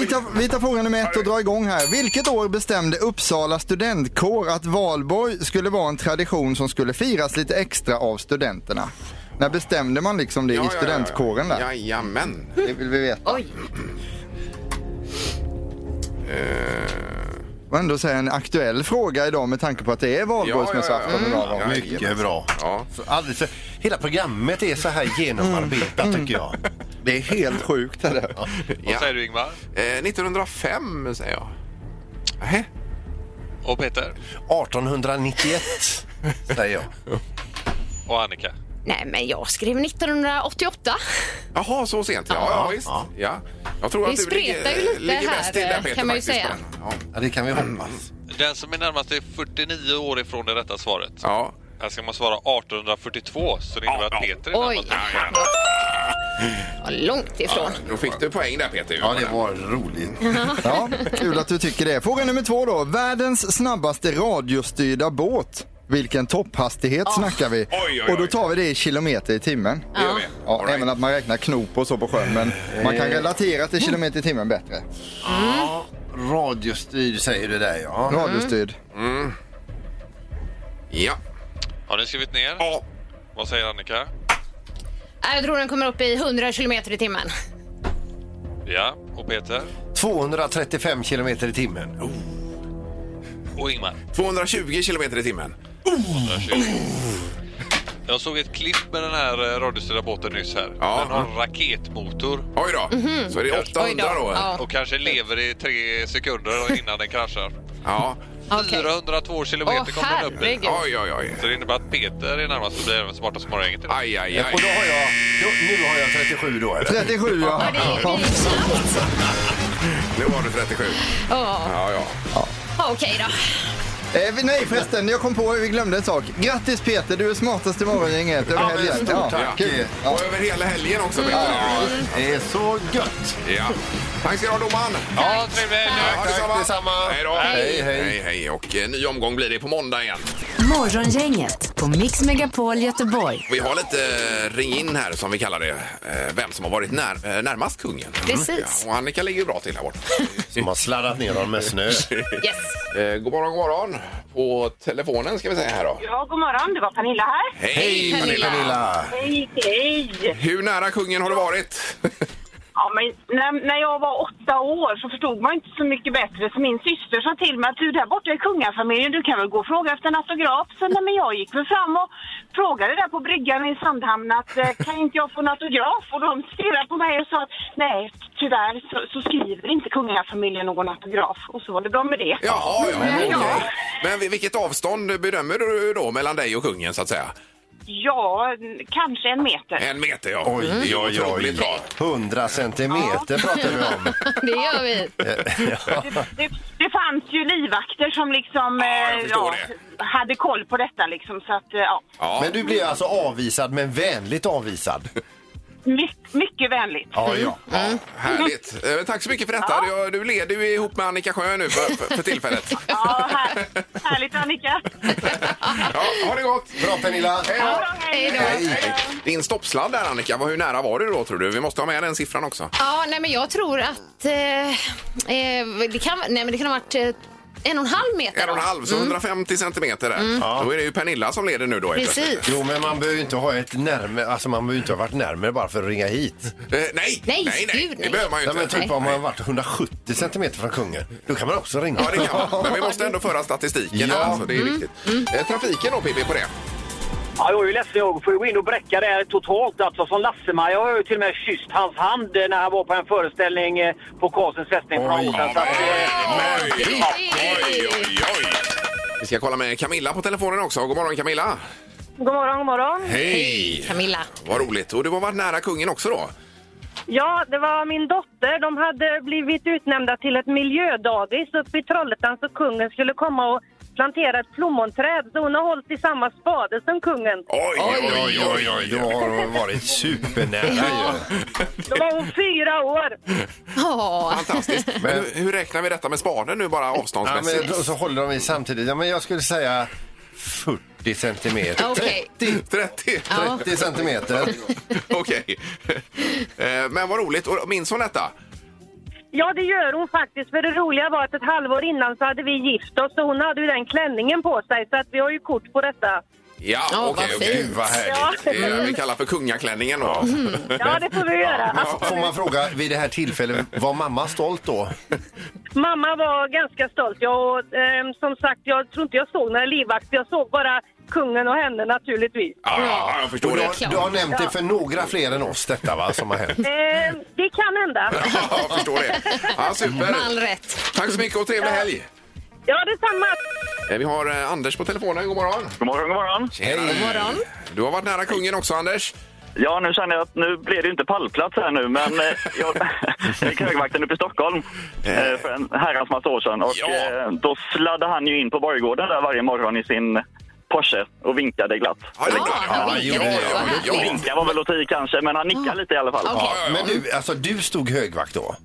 [SPEAKER 6] Vi tar, vi tar fråga nummer ett och drar igång här. Vilket år bestämde Uppsala studentkår att valborg skulle vara en tradition som skulle firas lite extra av studenterna? När bestämde man liksom det i studentkåren där?
[SPEAKER 3] Jajamän.
[SPEAKER 6] Det vill vi veta. Oj. Eh. Och ändå säga en aktuell fråga idag med tanke på att det är valborgsmässoafton idag. va?
[SPEAKER 4] Mm. Mycket bra. Så alldeles, för- hela programmet är så här genomarbetat tycker jag.
[SPEAKER 6] Mm. Det är helt sjukt. Är det?
[SPEAKER 3] Vad
[SPEAKER 10] säger du Ingmar?
[SPEAKER 3] Eh, 1905 säger jag. Nähä?
[SPEAKER 10] Och Peter?
[SPEAKER 4] 1891 säger jag.
[SPEAKER 10] Och Annika?
[SPEAKER 5] Nej, men jag skrev 1988.
[SPEAKER 3] Jaha, så sent. Ja, ja, visst. Ja. Jag tror
[SPEAKER 5] Det
[SPEAKER 3] att du
[SPEAKER 5] spretar
[SPEAKER 3] ligger,
[SPEAKER 5] ju lite
[SPEAKER 3] ligger
[SPEAKER 5] här, eh,
[SPEAKER 3] bäst till där, Peter,
[SPEAKER 5] kan man ju
[SPEAKER 3] faktiskt,
[SPEAKER 5] säga.
[SPEAKER 3] på den. Ja.
[SPEAKER 4] Ja, det kan vi
[SPEAKER 6] Mm.
[SPEAKER 4] hoppas.
[SPEAKER 10] Den som är närmast är 49 år ifrån det rätta svaret.
[SPEAKER 3] Ja.
[SPEAKER 10] Här ska man svara 1842, så det innebär att Peter är
[SPEAKER 5] Oj.
[SPEAKER 10] närmast.
[SPEAKER 5] Ja, Långt ifrån.
[SPEAKER 3] Då fick du poäng där, Peter.
[SPEAKER 4] Ja, det var roligt.
[SPEAKER 6] Ja, kul att du tycker det. Fråga nummer två då. Världens snabbaste radiostyrda båt. Vilken topphastighet snackar vi?
[SPEAKER 3] oj,
[SPEAKER 6] Och då tar vi det i kilometer i timmen.
[SPEAKER 3] Det gör vi.
[SPEAKER 6] Ja, även att man räknar knop och så på sjön, men man kan relatera till kilometer i timmen bättre. Mm.
[SPEAKER 4] Ja, radiostyrd säger du där ja.
[SPEAKER 6] Radiostyrd. Mm.
[SPEAKER 3] Ja.
[SPEAKER 10] Har ni skrivit ner?
[SPEAKER 3] Ja.
[SPEAKER 10] Vad säger Annika?
[SPEAKER 5] Nej, Jag tror den kommer upp i 100 kilometer i timmen.
[SPEAKER 10] Ja. Och Peter?
[SPEAKER 4] 235 kilometer i timmen.
[SPEAKER 10] Och Ingmar?
[SPEAKER 3] 220 kilometer i timmen.
[SPEAKER 10] Jag såg ett klipp med den här eh, radiostyrda båten nyss här.
[SPEAKER 3] Ja.
[SPEAKER 10] Den har raketmotor.
[SPEAKER 3] Oj då.
[SPEAKER 4] Mhm.
[SPEAKER 3] Så är det 800 då.
[SPEAKER 5] Ja.
[SPEAKER 10] Och kanske lever i tre sekunder innan den kraschar.
[SPEAKER 3] Ja.
[SPEAKER 5] Okej.
[SPEAKER 10] 402 kilometer
[SPEAKER 5] Åh,
[SPEAKER 10] kommer den upp i.
[SPEAKER 5] herregud.
[SPEAKER 3] Oj, oj, oj.
[SPEAKER 10] Så det innebär att Peter är närmast och blir även smartast på morgonen.
[SPEAKER 3] Aj, aj, aj.
[SPEAKER 4] Och då har jag, då, nu har jag 37 då eller?
[SPEAKER 6] 37 ja.
[SPEAKER 5] Ja, det är, det är snabbt.
[SPEAKER 3] Nu var du 37.
[SPEAKER 5] Ja,
[SPEAKER 3] Ja, ja.
[SPEAKER 5] Ja, okej då.
[SPEAKER 6] Eh, vi- nej förresten, jag kom på att vi glömde en sak. Grattis Peter, du är smartast i morgongänget över
[SPEAKER 4] men
[SPEAKER 6] helgen.
[SPEAKER 4] stort tack.
[SPEAKER 6] kul. Ja.
[SPEAKER 3] Och över hela helgen också, Peter.
[SPEAKER 4] Det är så gött!
[SPEAKER 3] Ja. Tack ska du ha, domaren.
[SPEAKER 10] Ja, trevlig helg!
[SPEAKER 3] Ha
[SPEAKER 4] Tack detsamma.
[SPEAKER 3] Hej då.
[SPEAKER 4] Hej, hej.
[SPEAKER 3] hej, hej. Och eh, ny omgång blir det på måndag igen.
[SPEAKER 2] Morgongänget på Mix Megapol Göteborg.
[SPEAKER 3] Vi har lite eh, ring in här som vi kallar det. Eh, Vem som har varit när, eh, närmast kungen.
[SPEAKER 5] Precis.
[SPEAKER 3] Ja, Och Annika ligger ju bra till här borta.
[SPEAKER 4] Som har sladdat ner dem med snö.
[SPEAKER 5] Yes.
[SPEAKER 3] Eh, God morgon, god morgon. På telefonen ska vi säga här då.
[SPEAKER 9] Ja, god morgon. Det var Pernilla här.
[SPEAKER 3] Hej Pernilla!
[SPEAKER 4] Pernilla!
[SPEAKER 9] Hej, hej!
[SPEAKER 3] Hur nära kungen har du varit?
[SPEAKER 9] Ja, men när, när jag var åtta år så förstod man inte så mycket bättre. Så min syster sa till mig att du där borta i kungafamiljen, du kan väl gå och fråga efter en autograf. Så nej, men jag gick väl fram och frågade där på bryggan i Sandhamn att eh, kan inte jag få en autograf? Och de stirrade på mig och sa att nej, tyvärr så, så skriver inte kungafamiljen någon autograf. Och så var det bra med det.
[SPEAKER 3] Jaha, ja.
[SPEAKER 9] Men
[SPEAKER 3] Men,
[SPEAKER 9] ja,
[SPEAKER 3] men vil- vilket avstånd bedömer du då mellan dig och kungen så att säga?
[SPEAKER 9] ja, kanske en meter.
[SPEAKER 3] En meter ja.
[SPEAKER 4] Oj,
[SPEAKER 3] det är
[SPEAKER 4] oj, oj.
[SPEAKER 3] Mm. otroligt bra.
[SPEAKER 4] 100 centimeter pratar vi om.
[SPEAKER 5] Det gör vi.
[SPEAKER 4] Ja.
[SPEAKER 9] det, det fanns ju livvakter som liksom
[SPEAKER 3] jag
[SPEAKER 9] eh,
[SPEAKER 3] förstår
[SPEAKER 9] hade koll på detta liksom så att eh, ja,
[SPEAKER 3] Ja.
[SPEAKER 4] Men du blev alltså avvisad, men vänligt avvisad.
[SPEAKER 9] My, mycket vänligt.
[SPEAKER 4] Ja, ja.
[SPEAKER 3] Mm. Ja, härligt. Eh, Tack så mycket för detta. Du- Du leder ju ihop med Annika Sjö nu för, för, för tillfället.
[SPEAKER 9] Ja, här, härligt Annika.
[SPEAKER 3] Ja, ha det gott!
[SPEAKER 4] Bra Pernilla!
[SPEAKER 9] Ja, hej då.
[SPEAKER 4] Hej.
[SPEAKER 3] Eh, Din stoppsladd där Annika, vad- hur nära var du då tror du? Vi måste ha med den siffran också.
[SPEAKER 5] Ja, nej men jag tror att eh, eh, det, kan, nej, men det kan ha varit eh, en och en halv meter.
[SPEAKER 3] En och en halv,
[SPEAKER 5] Mm.
[SPEAKER 3] så 150 centimeter där. Då är det ju Pernilla som leder nu då. helt
[SPEAKER 5] Precis.
[SPEAKER 3] plötsligt.
[SPEAKER 4] Jo, men man behöver ju inte ha ett närme, alltså man behöver ju inte ha varit närmare bara för att ringa hit.
[SPEAKER 3] Eh, nej, nej,
[SPEAKER 5] Nej,
[SPEAKER 3] nej,
[SPEAKER 5] gud,
[SPEAKER 3] det
[SPEAKER 5] nej.
[SPEAKER 3] behöver man ju
[SPEAKER 4] Nej,
[SPEAKER 3] inte.
[SPEAKER 4] men typ om man har varit 170 centimeter från kungen, då kan man också ringa.
[SPEAKER 3] Ja, det kan man. Men vi måste ändå föra statistiken.
[SPEAKER 4] Ja.
[SPEAKER 3] Ja. Alltså, det är viktigt. Eh, Trafiken då, Pippi, på det?
[SPEAKER 11] Ja, jag är ju ledsen. Jag får ju gå in och bräcka det här totalt. Alltså, som Lasse-Maja har jag ju till och med kysst hans hand eh, när han var på en föreställning eh, på Karlsens fästning för några år sedan. Så att, eh,
[SPEAKER 3] Oj, oj, oj, oj. Vi ska kolla med Camilla på telefonen också. God morgon, Camilla.
[SPEAKER 9] God morgon, god morgon.
[SPEAKER 3] Hej!
[SPEAKER 5] Camilla.
[SPEAKER 3] Vad roligt. Och du har varit nära kungen också då?
[SPEAKER 9] Ja, det var min dotter. De hade blivit utnämnda till ett miljödagis uppe i Trollhättan så kungen skulle komma och
[SPEAKER 12] plantera ett plommonträd så hon har hållit i samma spade som kungen.
[SPEAKER 4] Oj, oj, oj, oj. Då har hon varit supernära ju.
[SPEAKER 12] Då var hon fyra år.
[SPEAKER 3] Fantastiskt. Men hur, hur räknar vi detta med spaden nu bara
[SPEAKER 4] Ja,
[SPEAKER 3] avståndsmässigt?
[SPEAKER 4] men, och så håller de i samtidigt. Ja, men jag skulle säga 40 centimeter.
[SPEAKER 5] Okej.
[SPEAKER 3] 30, 30,
[SPEAKER 5] Ja.
[SPEAKER 4] 30 centimeter.
[SPEAKER 3] Okej. Eh, Men vad roligt. Och Minns hon detta?
[SPEAKER 12] Ja, det gör hon faktiskt. För det roliga var att ett halvår innan så hade vi gift oss och hon hade ju den klänningen på sig så att vi har ju kort på detta.
[SPEAKER 3] Ja,
[SPEAKER 12] Ja,
[SPEAKER 3] okej.
[SPEAKER 12] vad
[SPEAKER 3] okej.
[SPEAKER 12] fint.
[SPEAKER 3] Gud, vad härligt.
[SPEAKER 12] Ja.
[SPEAKER 3] Det är det vi kallar för kungaklänningen då.
[SPEAKER 12] Ja, det får vi göra.
[SPEAKER 4] Får man fråga vid det här tillfället, var mamma stolt då?
[SPEAKER 12] Mamma var ganska stolt. Jag, och, ehm, som sagt, jag tror inte jag såg några livvakter. Jag såg bara kungen och henne naturligtvis.
[SPEAKER 3] Ja, jag förstår
[SPEAKER 4] Och du,
[SPEAKER 3] det.
[SPEAKER 4] har, du har nämnt det
[SPEAKER 12] Ja.
[SPEAKER 4] för några fler än oss detta va, som har hänt.
[SPEAKER 12] Ehm, det kan hända.
[SPEAKER 3] Ja, jag förstår det. Ja, super.
[SPEAKER 5] Med all rätt.
[SPEAKER 3] Tack så mycket och trevlig helg.
[SPEAKER 12] Ja, detsamma.
[SPEAKER 3] Eh, Vi har eh, Anders på telefonen. God morgon. God morgon, god morgon. Tjena.
[SPEAKER 5] God morgon.
[SPEAKER 3] Du har varit nära kungen också, Anders.
[SPEAKER 13] Ja, nu känner jag att nu blir det ju inte pallplats här nu, men eh, jag jag gick högvakten uppe i Stockholm eh, för en herrans massa år sedan. Och eh, då sladdade han ju in på borggården där varje morgon i sin Porsche och vinkade glatt. Ja, det
[SPEAKER 4] han vinkade. Ja, ja, ja, ja.
[SPEAKER 13] Vinka var väl att ta i kanske, men han nickade lite i alla fall.
[SPEAKER 4] Ja, men du, alltså du stod högvakt då?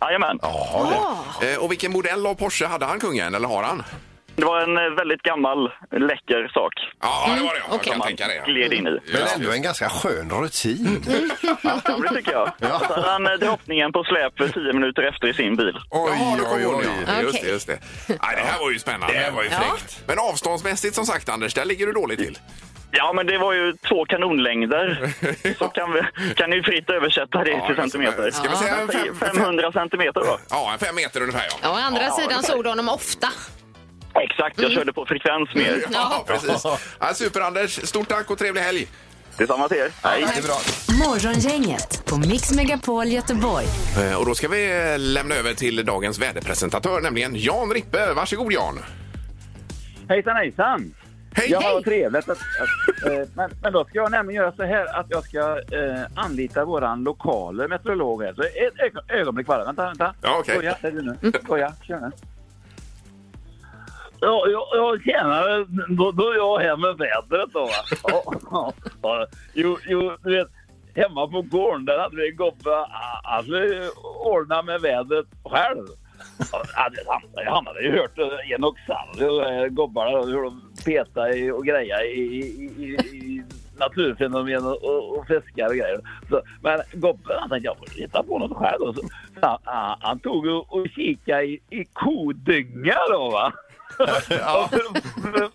[SPEAKER 13] Jajamän.
[SPEAKER 3] Eh, Och vilken modell av Porsche hade han, kungen? Eller har han?
[SPEAKER 13] Det var en eh, väldigt gammal, läcker sak.
[SPEAKER 3] Ja, det var
[SPEAKER 4] Mm,
[SPEAKER 3] det. Jag kan tänka det.
[SPEAKER 13] Gled in i.
[SPEAKER 4] Men ändå en ganska skön rutin.
[SPEAKER 12] Mm.
[SPEAKER 13] Ja, det tycker jag. Så hade han eh, drottningen på släp för tio minuter efter i sin bil.
[SPEAKER 3] Jaha, då kom hon, ja.
[SPEAKER 13] oj.
[SPEAKER 3] Just det, just det. Nej, det här var ju spännande.
[SPEAKER 13] Det här var ju Ja.
[SPEAKER 3] fräckt. Men avståndsmässigt som sagt, Anders, där ligger du dåligt till.
[SPEAKER 13] Ja, men det var ju två kanonlängder. Så kan, vi, kan ni ju fritt översätta det till centimeter.
[SPEAKER 3] Ska vi säga
[SPEAKER 13] Men
[SPEAKER 3] fem-
[SPEAKER 13] säg 500 centimeter då?
[SPEAKER 3] Ja, en fem meter ungefär, ja.
[SPEAKER 5] Ja, å andra sidan Mm. såg du honom ofta.
[SPEAKER 13] Exakt, jag körde på frekvens mer.
[SPEAKER 3] Ja, precis. Ja, super, Anders. Stort tack och trevlig helg.
[SPEAKER 13] Detsamma till er.
[SPEAKER 3] Hej. Det är bra.
[SPEAKER 2] Morgongänget på Mix Megapol Göteborg.
[SPEAKER 3] Eh, Och då ska vi eh, lämna över till dagens väderpresentatör, nämligen Jan Rippe. Varsågod Jan.
[SPEAKER 14] Hejsan hejsan!
[SPEAKER 3] Hej!
[SPEAKER 14] Ja, vad trevligt. Att, att, eh, men, men då ska jag nämligen göra så här att jag ska eh, anlita våran lokala meteorolog här. Så ett ögon- ögonblick bara. Vänta, vänta.
[SPEAKER 3] Ja, okej.
[SPEAKER 14] Skoja, är det
[SPEAKER 7] Mm.
[SPEAKER 14] nu? Skoja, kör nu. Ja, ja, ja tjenare. Då, då är jag här med vädret då. va. Ja, ja, ja. Jo, jo, du vet. Hemma på gården där hade vi en gubbe. ah, Alltså ordna med vädret själv. Ja, det- han, han hade ju hört eh, en och Sally och eh, gubbarna då, hur de petar i- och grejer i, i, i, i naturfenomen och- och, och fiskar och grejer. Så, men gubben han tänkte jag får hitta på något själv. Och Så, han, han, han tog och, och kikade i, i kodynga då va. Ja.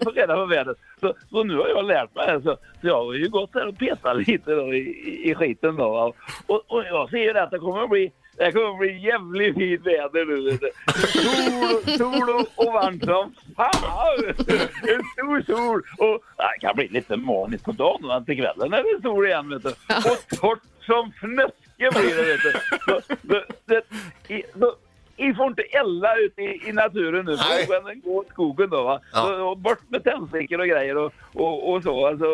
[SPEAKER 14] Få reda på vädret. Så, så nu har jag lärt mig det. Så, så jag har ju gått där och petat lite då i, i- i skiten då. va. Och, och jag ser ju det att det kommer att bli det kommer att bli jävligt fint väder nu. vet du. Sol, sol och, och varmt som fan! En stor sol! Och, ja, det kan bli lite molnigt på dagen, men till kvällen är det sol igen. Vet du. Och torrt som fnöske blir det. Vet du. Så, så, så, i, så, ni får inte elda ute i, i naturen nu, för då kan den gå åt skogen då. Va? Så, och bort med tändstickor och grejer och, och, och så. Alltså,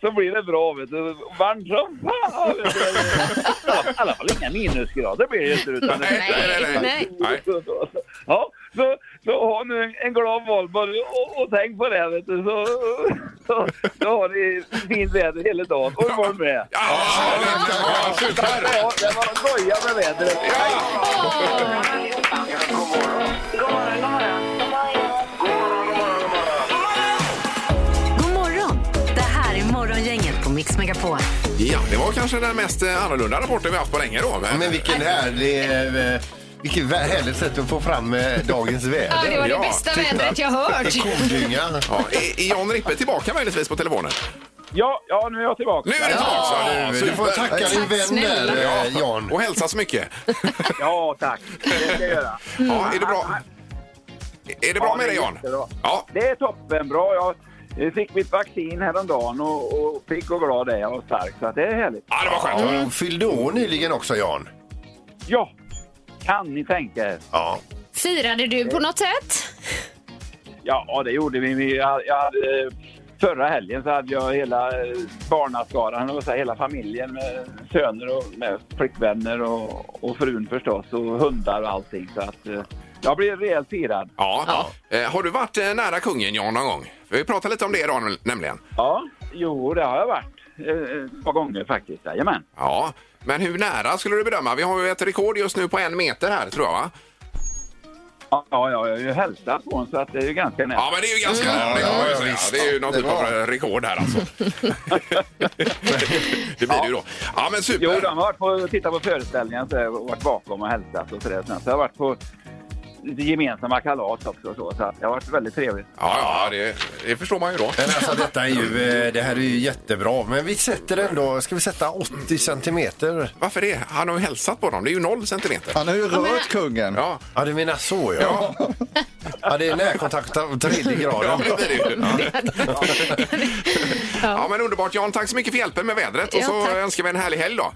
[SPEAKER 14] så blir det bra, vet du. Varmt som fan! vet du. I alla fall inga minusgrader blir det ju inte. Utan
[SPEAKER 3] nej, nej.
[SPEAKER 14] Ja, så, så ha nu en, en glad valborg och, och tänk på det. Vet du. Så, så, så har ni fint väder hela dagen. Och imorgon med. Ja, det var skoja med vädret.
[SPEAKER 2] God morgon! Det här är Morgongänget på Mix Megapol.
[SPEAKER 3] Ja, det var kanske den mest eh, annorlunda rapporten vi haft på länge då.
[SPEAKER 4] Men vilken härlig... eh, Vilket vä- härligt sätt att få fram eh, dagens väder.
[SPEAKER 5] Ja, det var det bästa vädret jag hört.
[SPEAKER 4] I kodynga.
[SPEAKER 3] Ja, är är Jan Rippe tillbaka möjligtvis på telefonen? eh,
[SPEAKER 14] Ja, ja, nu är jag tillbaka.
[SPEAKER 3] Nu är du tillbaka!
[SPEAKER 4] Ja, du får tacka din Tack vän där, snälla. eh, Jan.
[SPEAKER 3] Och hälsa så mycket.
[SPEAKER 14] Ja, tack. Det ska jag göra. Mm.
[SPEAKER 3] Ja, är det bra? Är det bra
[SPEAKER 14] Ja,
[SPEAKER 3] med dig
[SPEAKER 14] är
[SPEAKER 3] Jan?
[SPEAKER 14] jättebra.
[SPEAKER 3] Ja.
[SPEAKER 14] Det är toppenbra. Jag eh, fick mitt vaccin häromdagen och, och pigg och glad är jag och stark. Så att det är härligt.
[SPEAKER 3] Ja, det var skönt.
[SPEAKER 4] Ja, hon fyllde år nyligen också, Jan.
[SPEAKER 14] Ja, kan ni tänka er.
[SPEAKER 4] Ja.
[SPEAKER 5] Firade du på något sätt?
[SPEAKER 14] Ja, det gjorde vi. vi jag, jag hade, eh, förra helgen så hade jag hela eh, barnaskaran, och så här, hela familjen med söner och med flickvänner och, och frun förstås och hundar och allting. Så att, eh, Jag blev rejält firad.
[SPEAKER 3] Ja. Eh, Har du varit eh, nära kungen, Jan, någon gång? Vi pratade lite om det idag nu- nämligen.
[SPEAKER 14] Ja, jo, det har jag varit. Eh, Ett par gånger faktiskt. Jajamän.
[SPEAKER 3] Ja, men hur nära skulle du bedöma? Vi har ju ett rekord just nu på en meter här, tror jag, va?
[SPEAKER 14] Ja, ja, jag har ju hälsat på honom så att det är ju ganska nära.
[SPEAKER 3] Ja, men det är ju ganska nära. Det, kan man ju säga. det är ju någon typ av eh, rekord här alltså. det blir det ju då. Ja, men super.
[SPEAKER 14] Jo, de har varit på, tittat på föreställningen så jag har varit bakom och hälsat och sådär. Sen så har jag varit på lite gemensamma kalas också och så. Så att det har varit väldigt trevligt.
[SPEAKER 3] Ja, ja det, det förstår man ju då.
[SPEAKER 4] Men alltså, detta är ju, eh, det här är ju jättebra, men vi sätter ändå, ska vi sätta 80 centimeter?
[SPEAKER 3] Varför det? Han har ju hälsat på dem, det är ju noll centimeter.
[SPEAKER 6] Han har ju rört kungen.
[SPEAKER 3] Ja.
[SPEAKER 4] Ja, du menar så ja. Ja, det är närkontakt av tredje graden.
[SPEAKER 3] Ja, det är det ju. Ja, men underbart Jan, tack så mycket för hjälpen med vädret och
[SPEAKER 14] Ja,
[SPEAKER 3] så
[SPEAKER 14] tack.
[SPEAKER 3] önskar vi en härlig helg då.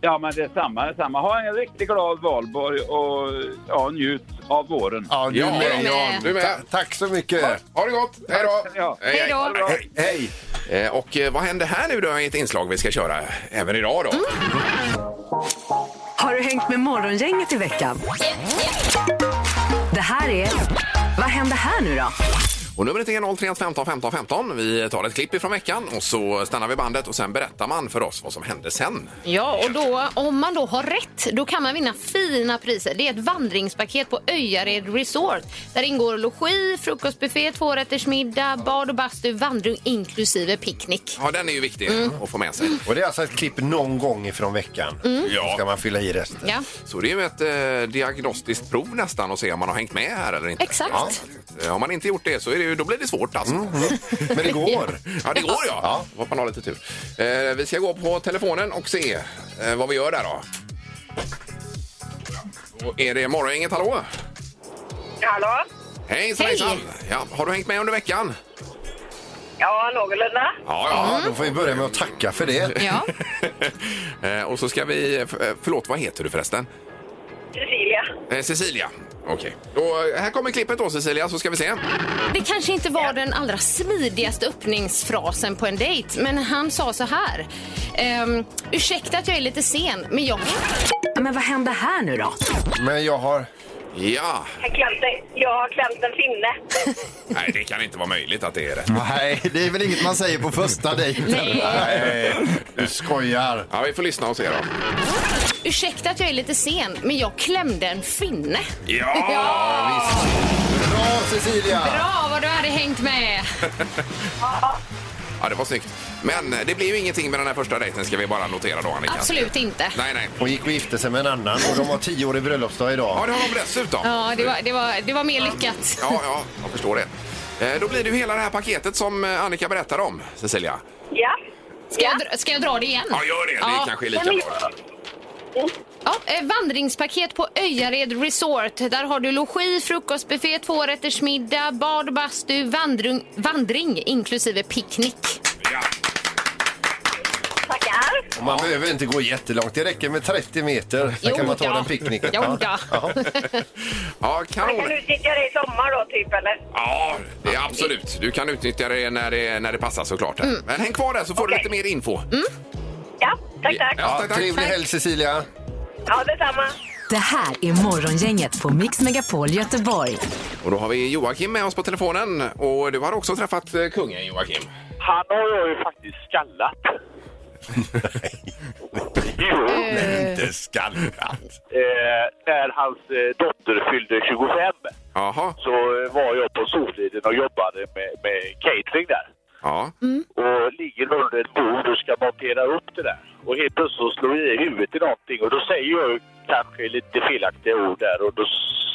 [SPEAKER 14] Ja, men det är samma. Det är samma. Ha en riktigt glad valborg och ja, njut av våren.
[SPEAKER 4] Ja, du
[SPEAKER 3] Ja,
[SPEAKER 4] med,
[SPEAKER 3] du
[SPEAKER 4] Jan.
[SPEAKER 3] med. Du med.
[SPEAKER 4] Ta- tack så mycket.
[SPEAKER 3] Ha, ha det gott! Hej då!
[SPEAKER 4] Hej då.
[SPEAKER 3] Ha det bra.
[SPEAKER 4] Hej,
[SPEAKER 3] Eh, Och eh, vad händer här nu då i ett inslag vi ska köra även idag då?
[SPEAKER 4] Mm.
[SPEAKER 2] Har du hängt med Morgongänget i veckan? Det här är... Vad händer här nu då?
[SPEAKER 3] Och numret är 031 15 15 15. Vi tar ett klipp ifrån veckan och så stannar vi bandet och sen berättar man för oss vad som hände sen.
[SPEAKER 5] Ja, och då, om man då har rätt, då kan man vinna fina priser. Det är ett vandringspaket på Öjared Resort. Där ingår logi, frukostbuffé, tvårättersmiddag, bad och bastu, vandring inklusive picknick.
[SPEAKER 3] Ja, den är ju viktig att få med sig.
[SPEAKER 4] Och det är alltså ett klipp någon gång ifrån veckan.
[SPEAKER 5] Mm.
[SPEAKER 4] Ja. Ska man fylla i resten.
[SPEAKER 5] Ja.
[SPEAKER 3] Så det är ju ett eh, diagnostiskt prov nästan och se om man har hängt med här eller inte.
[SPEAKER 5] Exakt.
[SPEAKER 3] Ja. Eh, Om man inte gjort det så är det ju, då blir det svårt alltså.
[SPEAKER 4] Mm, Men det går.
[SPEAKER 3] Ja, det går ja. ja. Hoppas man har lite tur. Eh, vi ska gå på telefonen och se eh, vad vi gör där då. Och är det morgongänget, hallå?
[SPEAKER 15] Hallå?
[SPEAKER 3] Hej,
[SPEAKER 15] Hej.
[SPEAKER 3] hejsan! Ja, har du hängt med under veckan?
[SPEAKER 15] Ja, någorlunda.
[SPEAKER 3] Ja,
[SPEAKER 4] Ja, då får vi börja med att tacka för det.
[SPEAKER 15] Ja.
[SPEAKER 3] Eh, och så ska vi... eh, Förlåt, vad heter du förresten?
[SPEAKER 15] Cecilia.
[SPEAKER 3] Eh, Cecilia. Okej. Då, eh, Här kommer klippet då, Cecilia, så ska vi se.
[SPEAKER 5] Det kanske inte var den allra smidigaste öppningsfrasen på en dejt, men han sa så här. Ehm, ursäkta att jag är lite sen, men jag...
[SPEAKER 2] Men vad hände här nu då?
[SPEAKER 4] Men jag har...
[SPEAKER 3] Ja.
[SPEAKER 15] Jag har klämt en, jag har klämt en finne.
[SPEAKER 3] Nej, det kan inte vara möjligt att det är rätt.
[SPEAKER 6] Nej, det är väl inget man säger på första dejten.
[SPEAKER 3] du skojar. Ja, vi får lyssna och se då.
[SPEAKER 5] Ursäkta att jag är lite sen, men jag klämde en finne.
[SPEAKER 3] Ja!
[SPEAKER 4] Bra, Cecilia!
[SPEAKER 5] Bra vad du hade hängt med!
[SPEAKER 3] Ja, det var snyggt. Men eh, det blir ju ingenting med den här första dejten ska vi bara notera då, Annika.
[SPEAKER 5] Absolut inte.
[SPEAKER 3] Nej, nej.
[SPEAKER 4] Hon gick och gifte sig med en annan och de har tio år i bröllopsdag idag.
[SPEAKER 3] Ja, det har de dessutom.
[SPEAKER 5] Ja, det var, det var, det var mer lyckat.
[SPEAKER 3] Ja, ja, jag förstår det. Eh, Då blir det ju hela det här paketet som eh, Annika berättade om, Cecilia.
[SPEAKER 15] Ja.
[SPEAKER 5] Ska, jag, dra- ska jag dra det igen?
[SPEAKER 3] Ja, gör det. Det kanske är lika
[SPEAKER 5] Nej, men-
[SPEAKER 3] bra.
[SPEAKER 5] Ja, eh, vandringspaket på Öjared Resort. Där har du logi, frukostbuffé, tvårättersmiddag, bad, bastu, vandring, vandring inklusive picknick.
[SPEAKER 4] Och man behöver inte gå jättelångt. Det räcker med 30 meter. Sen
[SPEAKER 15] Jo
[SPEAKER 4] kan man ta
[SPEAKER 15] då.
[SPEAKER 4] den picknicken.
[SPEAKER 15] Jo då.
[SPEAKER 4] Ja.
[SPEAKER 3] Ja,
[SPEAKER 15] Man
[SPEAKER 3] kanon.
[SPEAKER 15] kan utnyttja det i sommar då, typ, eller?
[SPEAKER 3] Ja, det är absolut. Du kan utnyttja det när det, när det passar såklart. Men häng kvar där så får du lite mer info.
[SPEAKER 15] Ja, tack, tack.
[SPEAKER 3] Ja, tack, tack.
[SPEAKER 4] Trevlig helg, Cecilia.
[SPEAKER 15] Ja, detsamma.
[SPEAKER 2] Det här är Morgongänget på Mix Megapol Göteborg.
[SPEAKER 3] Och då har vi Joakim med oss på telefonen. Och du har också träffat eh, kungen, Joakim.
[SPEAKER 7] Han har jag ju faktiskt skallat. jo.
[SPEAKER 4] Inte skallrat.
[SPEAKER 7] Eh, när hans eh, dotter fyllde 25
[SPEAKER 3] Jaha.
[SPEAKER 7] så eh, var jag på Soliden och jobbade med, med catering där.
[SPEAKER 3] Ja.
[SPEAKER 7] Och ligger under ett bord och ska montera upp det där. Och helt plötsligt slår jag i huvudet i någonting och då säger jag kanske lite felaktiga ord där och då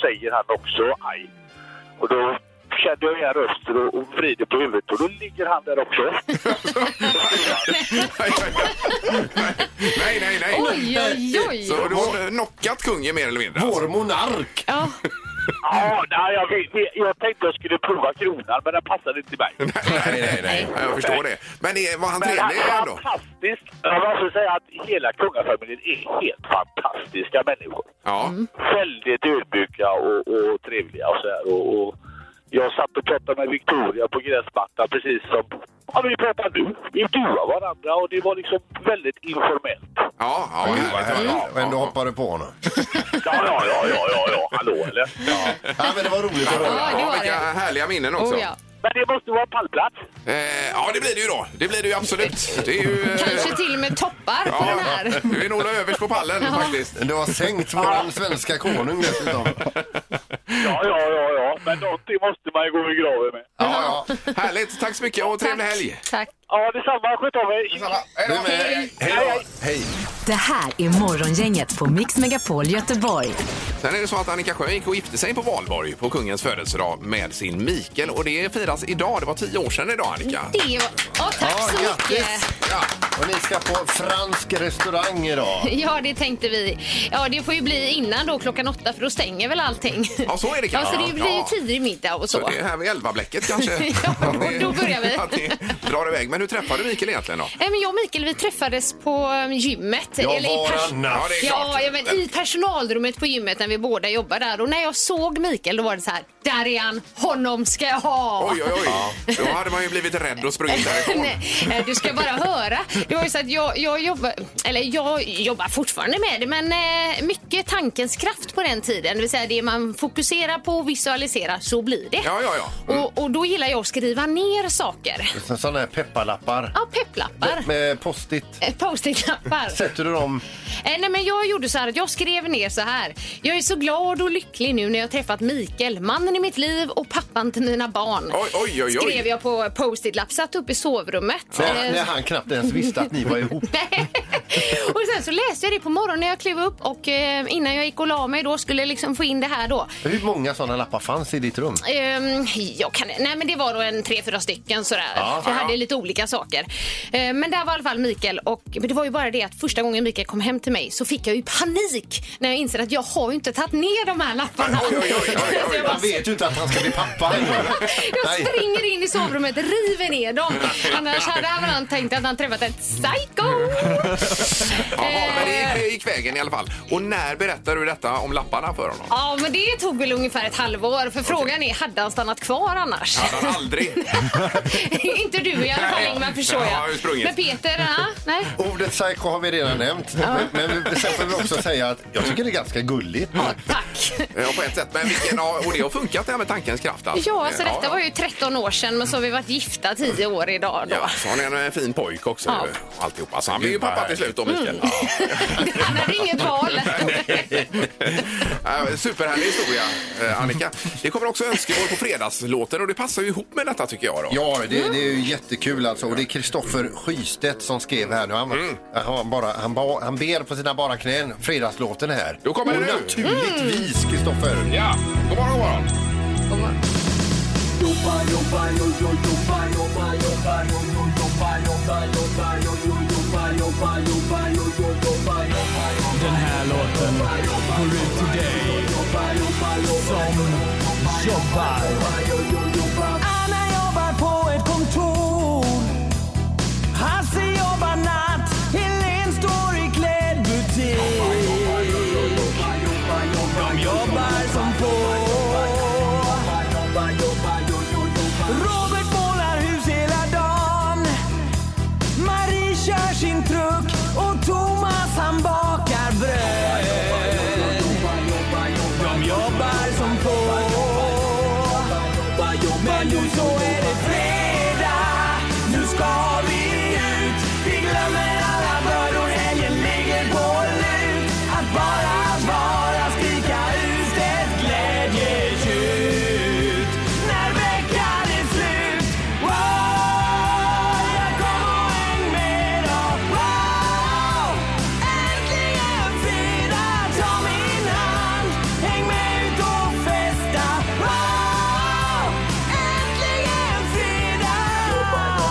[SPEAKER 7] säger han också aj. Och då kände jag igen rösten och- och vrider på huvudet och då ligger han där också.
[SPEAKER 3] Nej, nej, nej.
[SPEAKER 7] Oj, oj, oj.
[SPEAKER 3] Så du har knockat kungen mer eller mindre? alltså?
[SPEAKER 4] Vår monark.
[SPEAKER 5] Ja.
[SPEAKER 7] Ja, nej, jag, vet- jag tänkte jag skulle prova kronan men den passade inte mig.
[SPEAKER 3] Nej, nej, nej. Ja, Jag förstår det. Men det, var han trevlig ändå?
[SPEAKER 7] Fantastisk. Jag måste säga att hela kungafamiljen är helt fantastiska människor.
[SPEAKER 3] Ja.
[SPEAKER 7] Väldigt ödmjuka och, och trevliga och så här. Och, och jag satt och pratade med Victoria på gräsmattan precis som Ja, vi pratade, vi buade varandra och det var liksom väldigt informellt.
[SPEAKER 3] Ja, ja,
[SPEAKER 4] Mm. vad
[SPEAKER 7] Mm.
[SPEAKER 4] härligt. Och ändå hoppar du på honom.
[SPEAKER 7] Ja, ja, ja, ja, ja, hallå eller?
[SPEAKER 4] Ja. men det var roligt att höra.
[SPEAKER 3] Ja, vilka härliga minnen också.
[SPEAKER 7] Oh, ja. Men det måste vara pallplats.
[SPEAKER 3] Eh, ja, det blir det ju då. Det blir det ju absolut. Det är ju, eh,
[SPEAKER 5] Kanske till och med toppar på den här.
[SPEAKER 3] Du är nog överst på pallen
[SPEAKER 5] Ja.
[SPEAKER 3] faktiskt.
[SPEAKER 4] Du har sänkt vår svenska konung dessutom.
[SPEAKER 7] Ja, ja, ja, ja. Men någonting måste man ju gå i graven med.
[SPEAKER 3] Ja, ja. Härligt. Tack så mycket och trevlig helg.
[SPEAKER 5] Tack.
[SPEAKER 7] Ja, detsamma. Sköt om er.
[SPEAKER 3] Hej då. Hej
[SPEAKER 4] Hej.
[SPEAKER 2] Det här är Morgongänget på Mix Megapol Göteborg.
[SPEAKER 3] Sen är det så att Annika Sjö gick och gifte sig på valborg på kungens födelsedag med sin Mikael och det firas idag. Det var tio år sedan idag Annika.
[SPEAKER 5] Det var... Ja, tack
[SPEAKER 4] Ja,
[SPEAKER 5] så mycket.
[SPEAKER 4] Och ni ska på fransk restaurang idag.
[SPEAKER 5] Ja, det tänkte vi. Ja, det får ju bli innan då klockan åtta för då stänger väl allting.
[SPEAKER 3] Ja, så är det kanske.
[SPEAKER 5] Ja, så det blir ju
[SPEAKER 3] Ja.
[SPEAKER 5] tidig middag och
[SPEAKER 3] Så
[SPEAKER 5] så.
[SPEAKER 3] det är här vid elva-bläcket kanske.
[SPEAKER 5] Ja, och då börjar vi.
[SPEAKER 3] Att det drar iväg. Men hur träffade du Mikael egentligen då?
[SPEAKER 5] Nej, Eh, men jag och Mikael vi träffades på um, gymmet.
[SPEAKER 3] Ja, var
[SPEAKER 5] pers-
[SPEAKER 3] annars? Ja, det är
[SPEAKER 5] ja,
[SPEAKER 3] klart.
[SPEAKER 5] ja, men I personalrummet på gymmet när vi båda jobbar där. Och när jag såg Mikael då var det så här, där är han, honom ska jag ha.
[SPEAKER 3] Oj, oj, oj. Då hade man ju blivit rädd och sprungit därifrån.
[SPEAKER 5] Nej, eh, du ska bara höra. Det var ju så att jag, jag, jobbar, eller jag jobbar fortfarande med det, men eh, mycket tankens kraft på den tiden. Det vill säga det man fokuserar på och visualiserar, så blir det.
[SPEAKER 3] Ja, Mm. ja,
[SPEAKER 5] ja. Och, och då gillar jag att skriva ner saker.
[SPEAKER 4] Sådana här pepparlappar.
[SPEAKER 5] Ja, pepplappar.
[SPEAKER 4] Med post-it.
[SPEAKER 5] Eh, Post-it-lappar.
[SPEAKER 4] Sätter du dem...
[SPEAKER 5] Eh, Nej, men jag gjorde så här att jag skrev ner så här. Jag är så glad och lycklig nu när jag träffat Mikael, mannen i mitt liv och pappan till mina barn.
[SPEAKER 4] Oj, oj, oj, oj.
[SPEAKER 5] Skrev jag på post-it-lapp, satt upp i sovrummet.
[SPEAKER 4] När,
[SPEAKER 5] Eh,
[SPEAKER 4] när han knappt ens visste att ni var ihop.
[SPEAKER 5] Och sen så läste jag det på morgonen när jag klev upp och eh, innan jag gick och la mig då skulle jag liksom få in det här då.
[SPEAKER 4] Hur många sådana lappar fanns i ditt rum?
[SPEAKER 5] Ehm, jag kan, nej men det var då en tre, fyra stycken sådär.
[SPEAKER 4] Ja,
[SPEAKER 5] För jag
[SPEAKER 4] ja.
[SPEAKER 5] hade lite olika saker. Ehm, men där var i alla fall Mikael och men det var ju bara det att första gången Mikael kom hem till mig så fick jag ju panik när jag inser att jag har ju inte tagit ner de här lapparna.
[SPEAKER 4] Han vet ju inte att han ska bli pappa.
[SPEAKER 5] Jag
[SPEAKER 4] Nej.
[SPEAKER 5] springer in i sovrummet, river ner dem. Annars hade han väl tänkt att han träffat ett psycho.
[SPEAKER 3] Jaha, men det gick- gick vägen i alla fall. Och när berättade du detta om lapparna för honom?
[SPEAKER 5] Ja, men det tog väl ungefär ett halvår. För frågan är, hade han stannat kvar annars?
[SPEAKER 3] Hade han aldrig?
[SPEAKER 5] inte du i alla fall,
[SPEAKER 4] Nej.
[SPEAKER 5] Ingmar, förstår
[SPEAKER 4] Nej, jag har ju
[SPEAKER 5] jag.
[SPEAKER 4] sprungit.
[SPEAKER 5] Men Peter, ja, nej.
[SPEAKER 4] Ordet psycho har vi redan nämnt. Men, men sen får vi också säga att jag tycker det är ganska gulligt.
[SPEAKER 3] Ja, på ett sätt. Men vilken, ja, och det har funkat det här med tankens kraft alltså.
[SPEAKER 5] Ja, så detta
[SPEAKER 3] ja.
[SPEAKER 5] var ju 13 år sedan, men så har vi varit gifta 10 år idag då.
[SPEAKER 3] Ja, så har ni en eh, fin pojk också
[SPEAKER 5] Ja.
[SPEAKER 3] ju, och alltihopa. Så han blir ju pappa till slut då, Mikael.
[SPEAKER 5] Han hade inget val.
[SPEAKER 3] Ja, Superhärlig historia, eh, Annika. Det kommer också önskemål på fredagslåten och det passar ju ihop med detta tycker jag. Då.
[SPEAKER 4] Ja, det, det är ju jättekul alltså. Och det är Kristoffer Skystedt som skrev här nu. Han, han, bara, han, ba, han ber på sina bara knän, fredagslåten här. Då
[SPEAKER 3] kommer
[SPEAKER 4] och
[SPEAKER 3] den nu.
[SPEAKER 4] naturligtvis Kristoffer.
[SPEAKER 3] Ja, god morgon, god morgon.
[SPEAKER 1] Jobba, jobba, jo, jo, jobba, jobba, jobba, jo, jo, jobba, jobba, jobba, jo, jo, jobba, jobba, jobba, jo, jo, jobba, jobba, jobba. Den här låten går ut till dig som jobbar. Anna jobbar på ett kontor. Hasse jobbar natt. Helen står i klädbutik. De jobbar som få. Robert målar hus hela dagen Marie kör sin truck och Thomas han bakar bröd De jobbar som få Men nu så är det fredag Nu ska vi ut Vi glömmer alla bördor Helgen ligger på lut Att bara vara skrika ut ett glädjetjut när veckan är slut Wow, jag kommer och häng med då Wow, äntligen fredag Ta min hand, häng med ut och festa Wow, äntligen fredag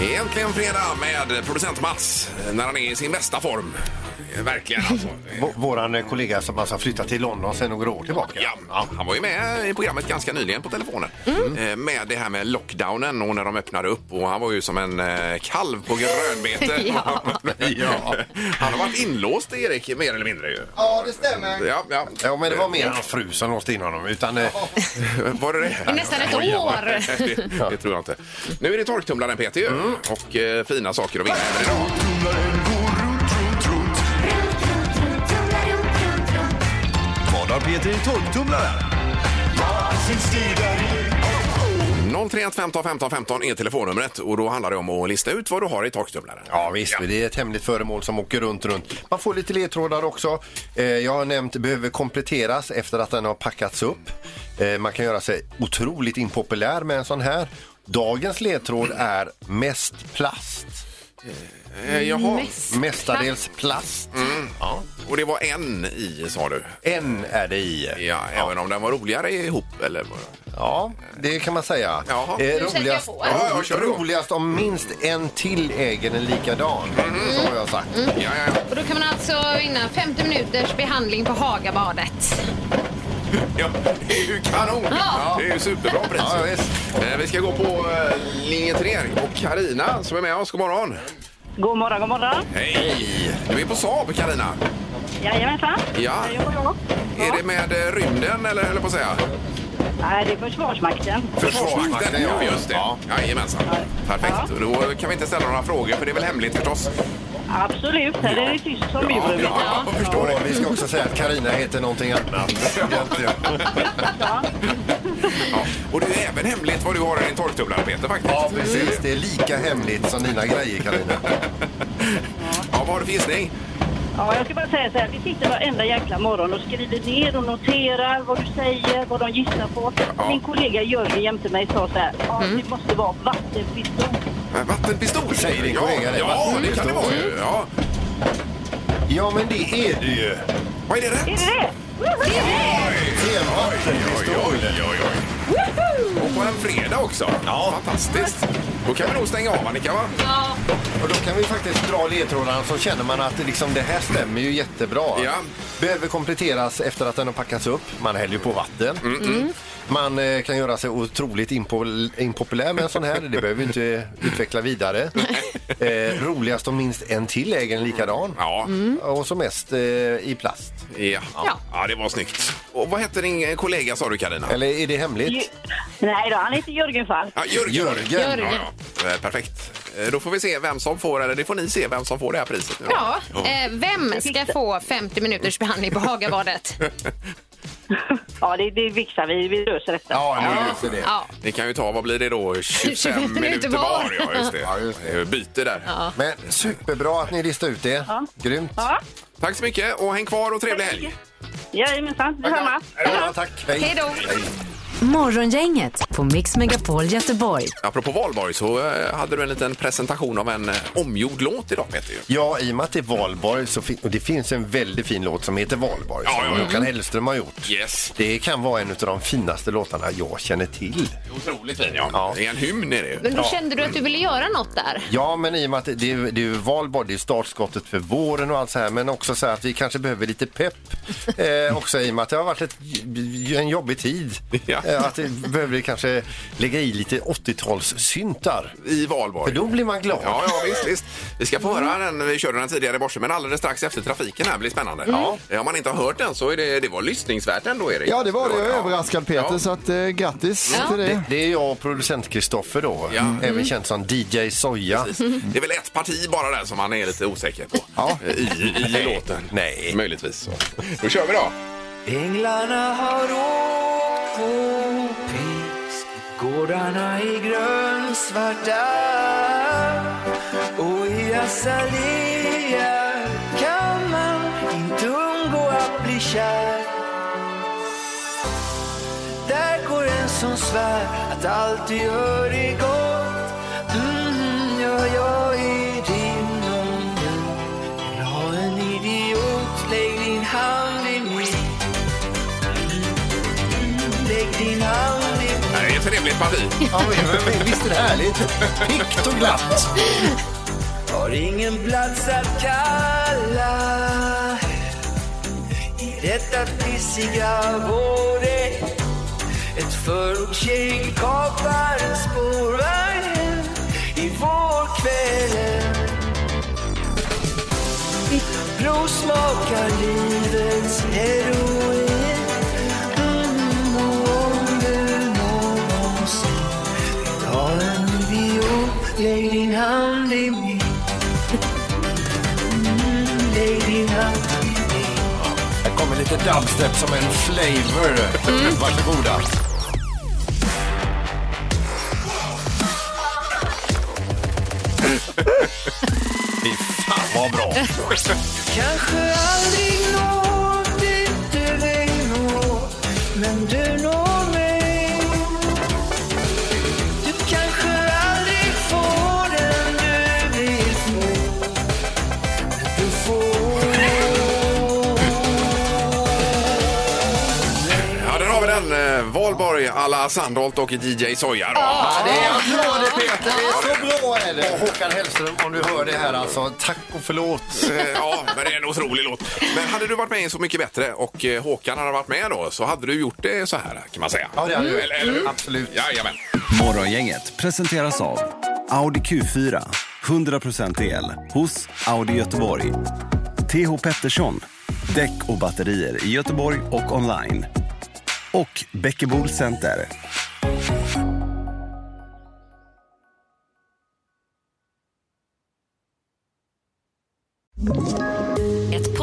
[SPEAKER 3] Det är Äntligen fredag med producent Mats eh, när han är i sin bästa form. Verkligen alltså.
[SPEAKER 4] V- våran eh, kollega som alltså har flyttat till London sedan några år tillbaka.
[SPEAKER 3] Ja, han var ju med i programmet ganska nyligen på telefonen Eh, med det här med lockdownen och när de öppnade upp och han var ju som en eh, kalv på grönbete.
[SPEAKER 6] Ja.
[SPEAKER 3] ja. Han har varit inlåst Erik mer eller mindre ju.
[SPEAKER 6] Ja, det stämmer.
[SPEAKER 3] Ja, ja.
[SPEAKER 4] ja, men det var mer hans fru som låste in honom. Utan, eh,
[SPEAKER 3] var det det?
[SPEAKER 5] I nästan ett
[SPEAKER 3] Oj, ja.
[SPEAKER 5] år.
[SPEAKER 3] det, det tror jag inte. Nu är det torktumlaren Peter ju. och eh, fina saker att vinna även idag. Vad har Peter i torktumlaren? 031 15 15 15 är telefonnumret och då handlar det om att lista ut vad du har i torktumlaren.
[SPEAKER 4] Ja visst, det är ett hemligt föremål som åker runt, runt. Man får lite ledtrådar också. Eh, jag har nämnt behöver kompletteras efter att den har packats upp. Eh, man kan göra sig otroligt impopulär med en sån här. Dagens ledtråd är mest plast.
[SPEAKER 3] Eh, jaha. Mest
[SPEAKER 4] Mestadels plast.
[SPEAKER 3] Mm. Och det var en i, sa du?
[SPEAKER 4] En är det i.
[SPEAKER 3] Ja, även om den var roligare ihop eller?
[SPEAKER 4] Ja, det kan man säga.
[SPEAKER 3] Jaha.
[SPEAKER 4] Eh,
[SPEAKER 3] Nu sätter jag
[SPEAKER 4] roligast,
[SPEAKER 3] på här. Ja, ja, kör du.
[SPEAKER 4] roligast om minst en till äger en likadan. Så har jag sagt.
[SPEAKER 3] Mhm. Ja, ja, ja.
[SPEAKER 5] Och då kan man alltså vinna 50 minuters behandling på Hagabadet.
[SPEAKER 3] Ja, det är ju kanon!
[SPEAKER 5] Ja.
[SPEAKER 3] Det är ju superbra pris. Eh, Vi ska gå på eh, linje 3 och Karina som är med oss. God morgon!
[SPEAKER 16] God morgon, god morgon.
[SPEAKER 3] Hej! Du är på Saab, Karina.
[SPEAKER 16] Jajamensan.
[SPEAKER 3] Ja.
[SPEAKER 16] Jag jobbar jag.
[SPEAKER 3] Är det med eh, rymden eller höll jag på att säga?
[SPEAKER 16] Nej, det är Försvarsmakten.
[SPEAKER 3] Försvarsmakten, ja just det. Jajamensan. Perfekt. Och Då kan vi inte ställa några frågor för det är väl hemligt förstås.
[SPEAKER 16] Absolut, här är det tyst som muren.
[SPEAKER 3] Ja, jag förstår det.
[SPEAKER 4] Och vi ska också säga att Karina heter någonting annat.
[SPEAKER 3] Och det är även hemligt vad du har i din torktumlare Peter faktiskt.
[SPEAKER 4] Ja, precis. Det är lika hemligt som dina grejer, Karina.
[SPEAKER 3] Ja, vad har du för gissning?
[SPEAKER 16] Ja, jag ska bara säga så här, vi sitter varenda jäkla morgon och skriver ner och noterar vad du säger, vad de gissar på. Min kollega Jörgen jämte mig sa så här, ja, det måste vara vattenpistol.
[SPEAKER 3] Eh, Vattenpistol säger
[SPEAKER 4] din kollega det.
[SPEAKER 3] Ja, det kan det vara ju. Ja.
[SPEAKER 4] Ja, men det är det ju.
[SPEAKER 3] Vad är det rätt?
[SPEAKER 16] Är det det? Det är det!
[SPEAKER 4] Vattenpistol.
[SPEAKER 3] Och på en fredag också. Ja. Fantastiskt. Då kan vi nog stänga av Annika va?
[SPEAKER 5] Ja.
[SPEAKER 4] Och då kan vi faktiskt dra ledtrådarna så känner man att det liksom, det här stämmer ju jättebra.
[SPEAKER 3] Ja.
[SPEAKER 4] Behöver kompletteras efter att den har packats upp. Man häller ju på vatten.
[SPEAKER 3] mm.
[SPEAKER 4] Man eh, kan göra sig otroligt impol- impopulär med en sån här. Det behöver vi inte utveckla vidare. Eh, roligast om minst en till äger en likadan.
[SPEAKER 3] Ja.
[SPEAKER 4] Och som mest eh, i plast.
[SPEAKER 3] Ja. ja. det var snyggt. Och vad hette din eh, kollega sa du Karina?
[SPEAKER 4] Eller är det hemligt?
[SPEAKER 16] Nej då, han heter Jörgen Falk.
[SPEAKER 3] Ja, Jörgen. Jörgen.
[SPEAKER 16] Jörgen.
[SPEAKER 3] Ja, ja. Eh, Perfekt. Eh, Då får vi se vem som får, eller det får ni se vem som får det här priset. nu då.
[SPEAKER 5] Ja, eh, vem ska få 50 minuters behandling på Hagabadet?
[SPEAKER 16] Ja, det, det fixar vi. Vi löser detta.
[SPEAKER 4] Ja, nu löser det.
[SPEAKER 5] Ja.
[SPEAKER 3] Ni kan ju ta, vad blir det då, 25,
[SPEAKER 5] 25
[SPEAKER 3] minuter
[SPEAKER 5] minuter
[SPEAKER 3] var?
[SPEAKER 5] var.
[SPEAKER 3] Ja, just det. Ja, just det. Byte där.
[SPEAKER 4] Men superbra att ni listade ut det. Grymt.
[SPEAKER 3] Tack så mycket och häng kvar och trevlig helg.
[SPEAKER 16] Jajamensan, detsamma.
[SPEAKER 4] Ja, tack. Hej.
[SPEAKER 5] Hej då.
[SPEAKER 2] Morgongänget på Mix Megapol Göteborg.
[SPEAKER 3] Apropå valborg så eh, hade du en liten presentation av en eh, omgjord låt idag Peter. ju.
[SPEAKER 4] Ja, i och med att det är valborg så fin- och det finns en väldigt fin låt som heter Valborg
[SPEAKER 3] Ja,
[SPEAKER 4] som
[SPEAKER 3] ja, ja.
[SPEAKER 4] Håkan Hellström har gjort.
[SPEAKER 3] Yes.
[SPEAKER 4] Det kan vara en av de finaste låtarna jag känner till.
[SPEAKER 3] Otroligt fin ja. Det är en hymn är det ju.
[SPEAKER 5] Men då kände du att du ville göra något där?
[SPEAKER 4] Ja, men i och med att det, det, är- det är ju valborg, det är startskottet för våren och allt så här, men också så här att vi kanske behöver lite pepp eh, också i och med att det har varit ett, j- en jobbig tid. Eh, att det behöver vi kanske lägga i lite 80-talssyntar.
[SPEAKER 3] I valborg.
[SPEAKER 4] För då blir man glad.
[SPEAKER 3] Ja, ja visst, visst. Vi ska få höra den. Vi körde den tidigare i morse, men alldeles strax efter trafiken här blir spännande. Ja. Om man inte har hört den så är det, det var lyssningsvärt ändå, Erik.
[SPEAKER 6] Ja, det var det. Jag är överraskad Peter, så att, eh, grattis till det.
[SPEAKER 4] Det, det är jag och producent Kristoffer då, Mm.
[SPEAKER 3] Ja. Mm.
[SPEAKER 4] även känd som DJ Soja.
[SPEAKER 3] Det är väl ett parti bara där som man är lite osäker på
[SPEAKER 4] Eh,
[SPEAKER 3] i, i, i låten. Nej. Möjligtvis. Så. Då kör vi då.
[SPEAKER 8] Änglarna har åkt på pisk Gårdarna i grönsvarta Och i azalea kan man inte undgå att bli kär Där går en som svär att allt du gör är gott Mm, ja, jag är din om du vill ha en idiot Lägg din hand i min Lägg din hand i min
[SPEAKER 3] Nej, trevligt parti.
[SPEAKER 4] Ja, men, visst är det härligt? Pickt och glatt.
[SPEAKER 8] Har ingen plats att kalla I detta pissiga vårde Ett förortstjej kapar en spårvagn hem I vårkvällen Ditt blod smakar livets heroin Mm, och om du någonsin Ta en idiot, lägg din hand i min. Mm, lägg din hand i min.
[SPEAKER 4] Här kommer lite dubstep som en flavor.
[SPEAKER 3] Mm.
[SPEAKER 4] Varsågoda. Fy fan vad bra.
[SPEAKER 8] Kanske aldrig når dit du vill nå, men du når mig. Du kanske aldrig får den du vill få, men du får.
[SPEAKER 3] Ja, där har vi den. eh, Valborg alla Sandholt och DJ Soja. då.
[SPEAKER 4] Ja, det är applåder Peter, det är så bra är det. Och Håkan Hellström, om du hör det här alltså, tack och förlåt.
[SPEAKER 3] Eh, Ja, men det är en otrolig låt. Men hade du varit med i Så mycket bättre och eh, Håkan hade varit med då så hade du gjort det så här kan man säga.
[SPEAKER 4] Ja, det hade du.
[SPEAKER 3] Eller, eller hur?
[SPEAKER 4] Absolut.
[SPEAKER 3] Jajamän.
[SPEAKER 17] Morgongänget presenteras av Audi Q4, 100% el hos Audi Göteborg. TH Pettersson, däck och batterier i Göteborg och online. Och Bäckebol Center.
[SPEAKER 18] Ett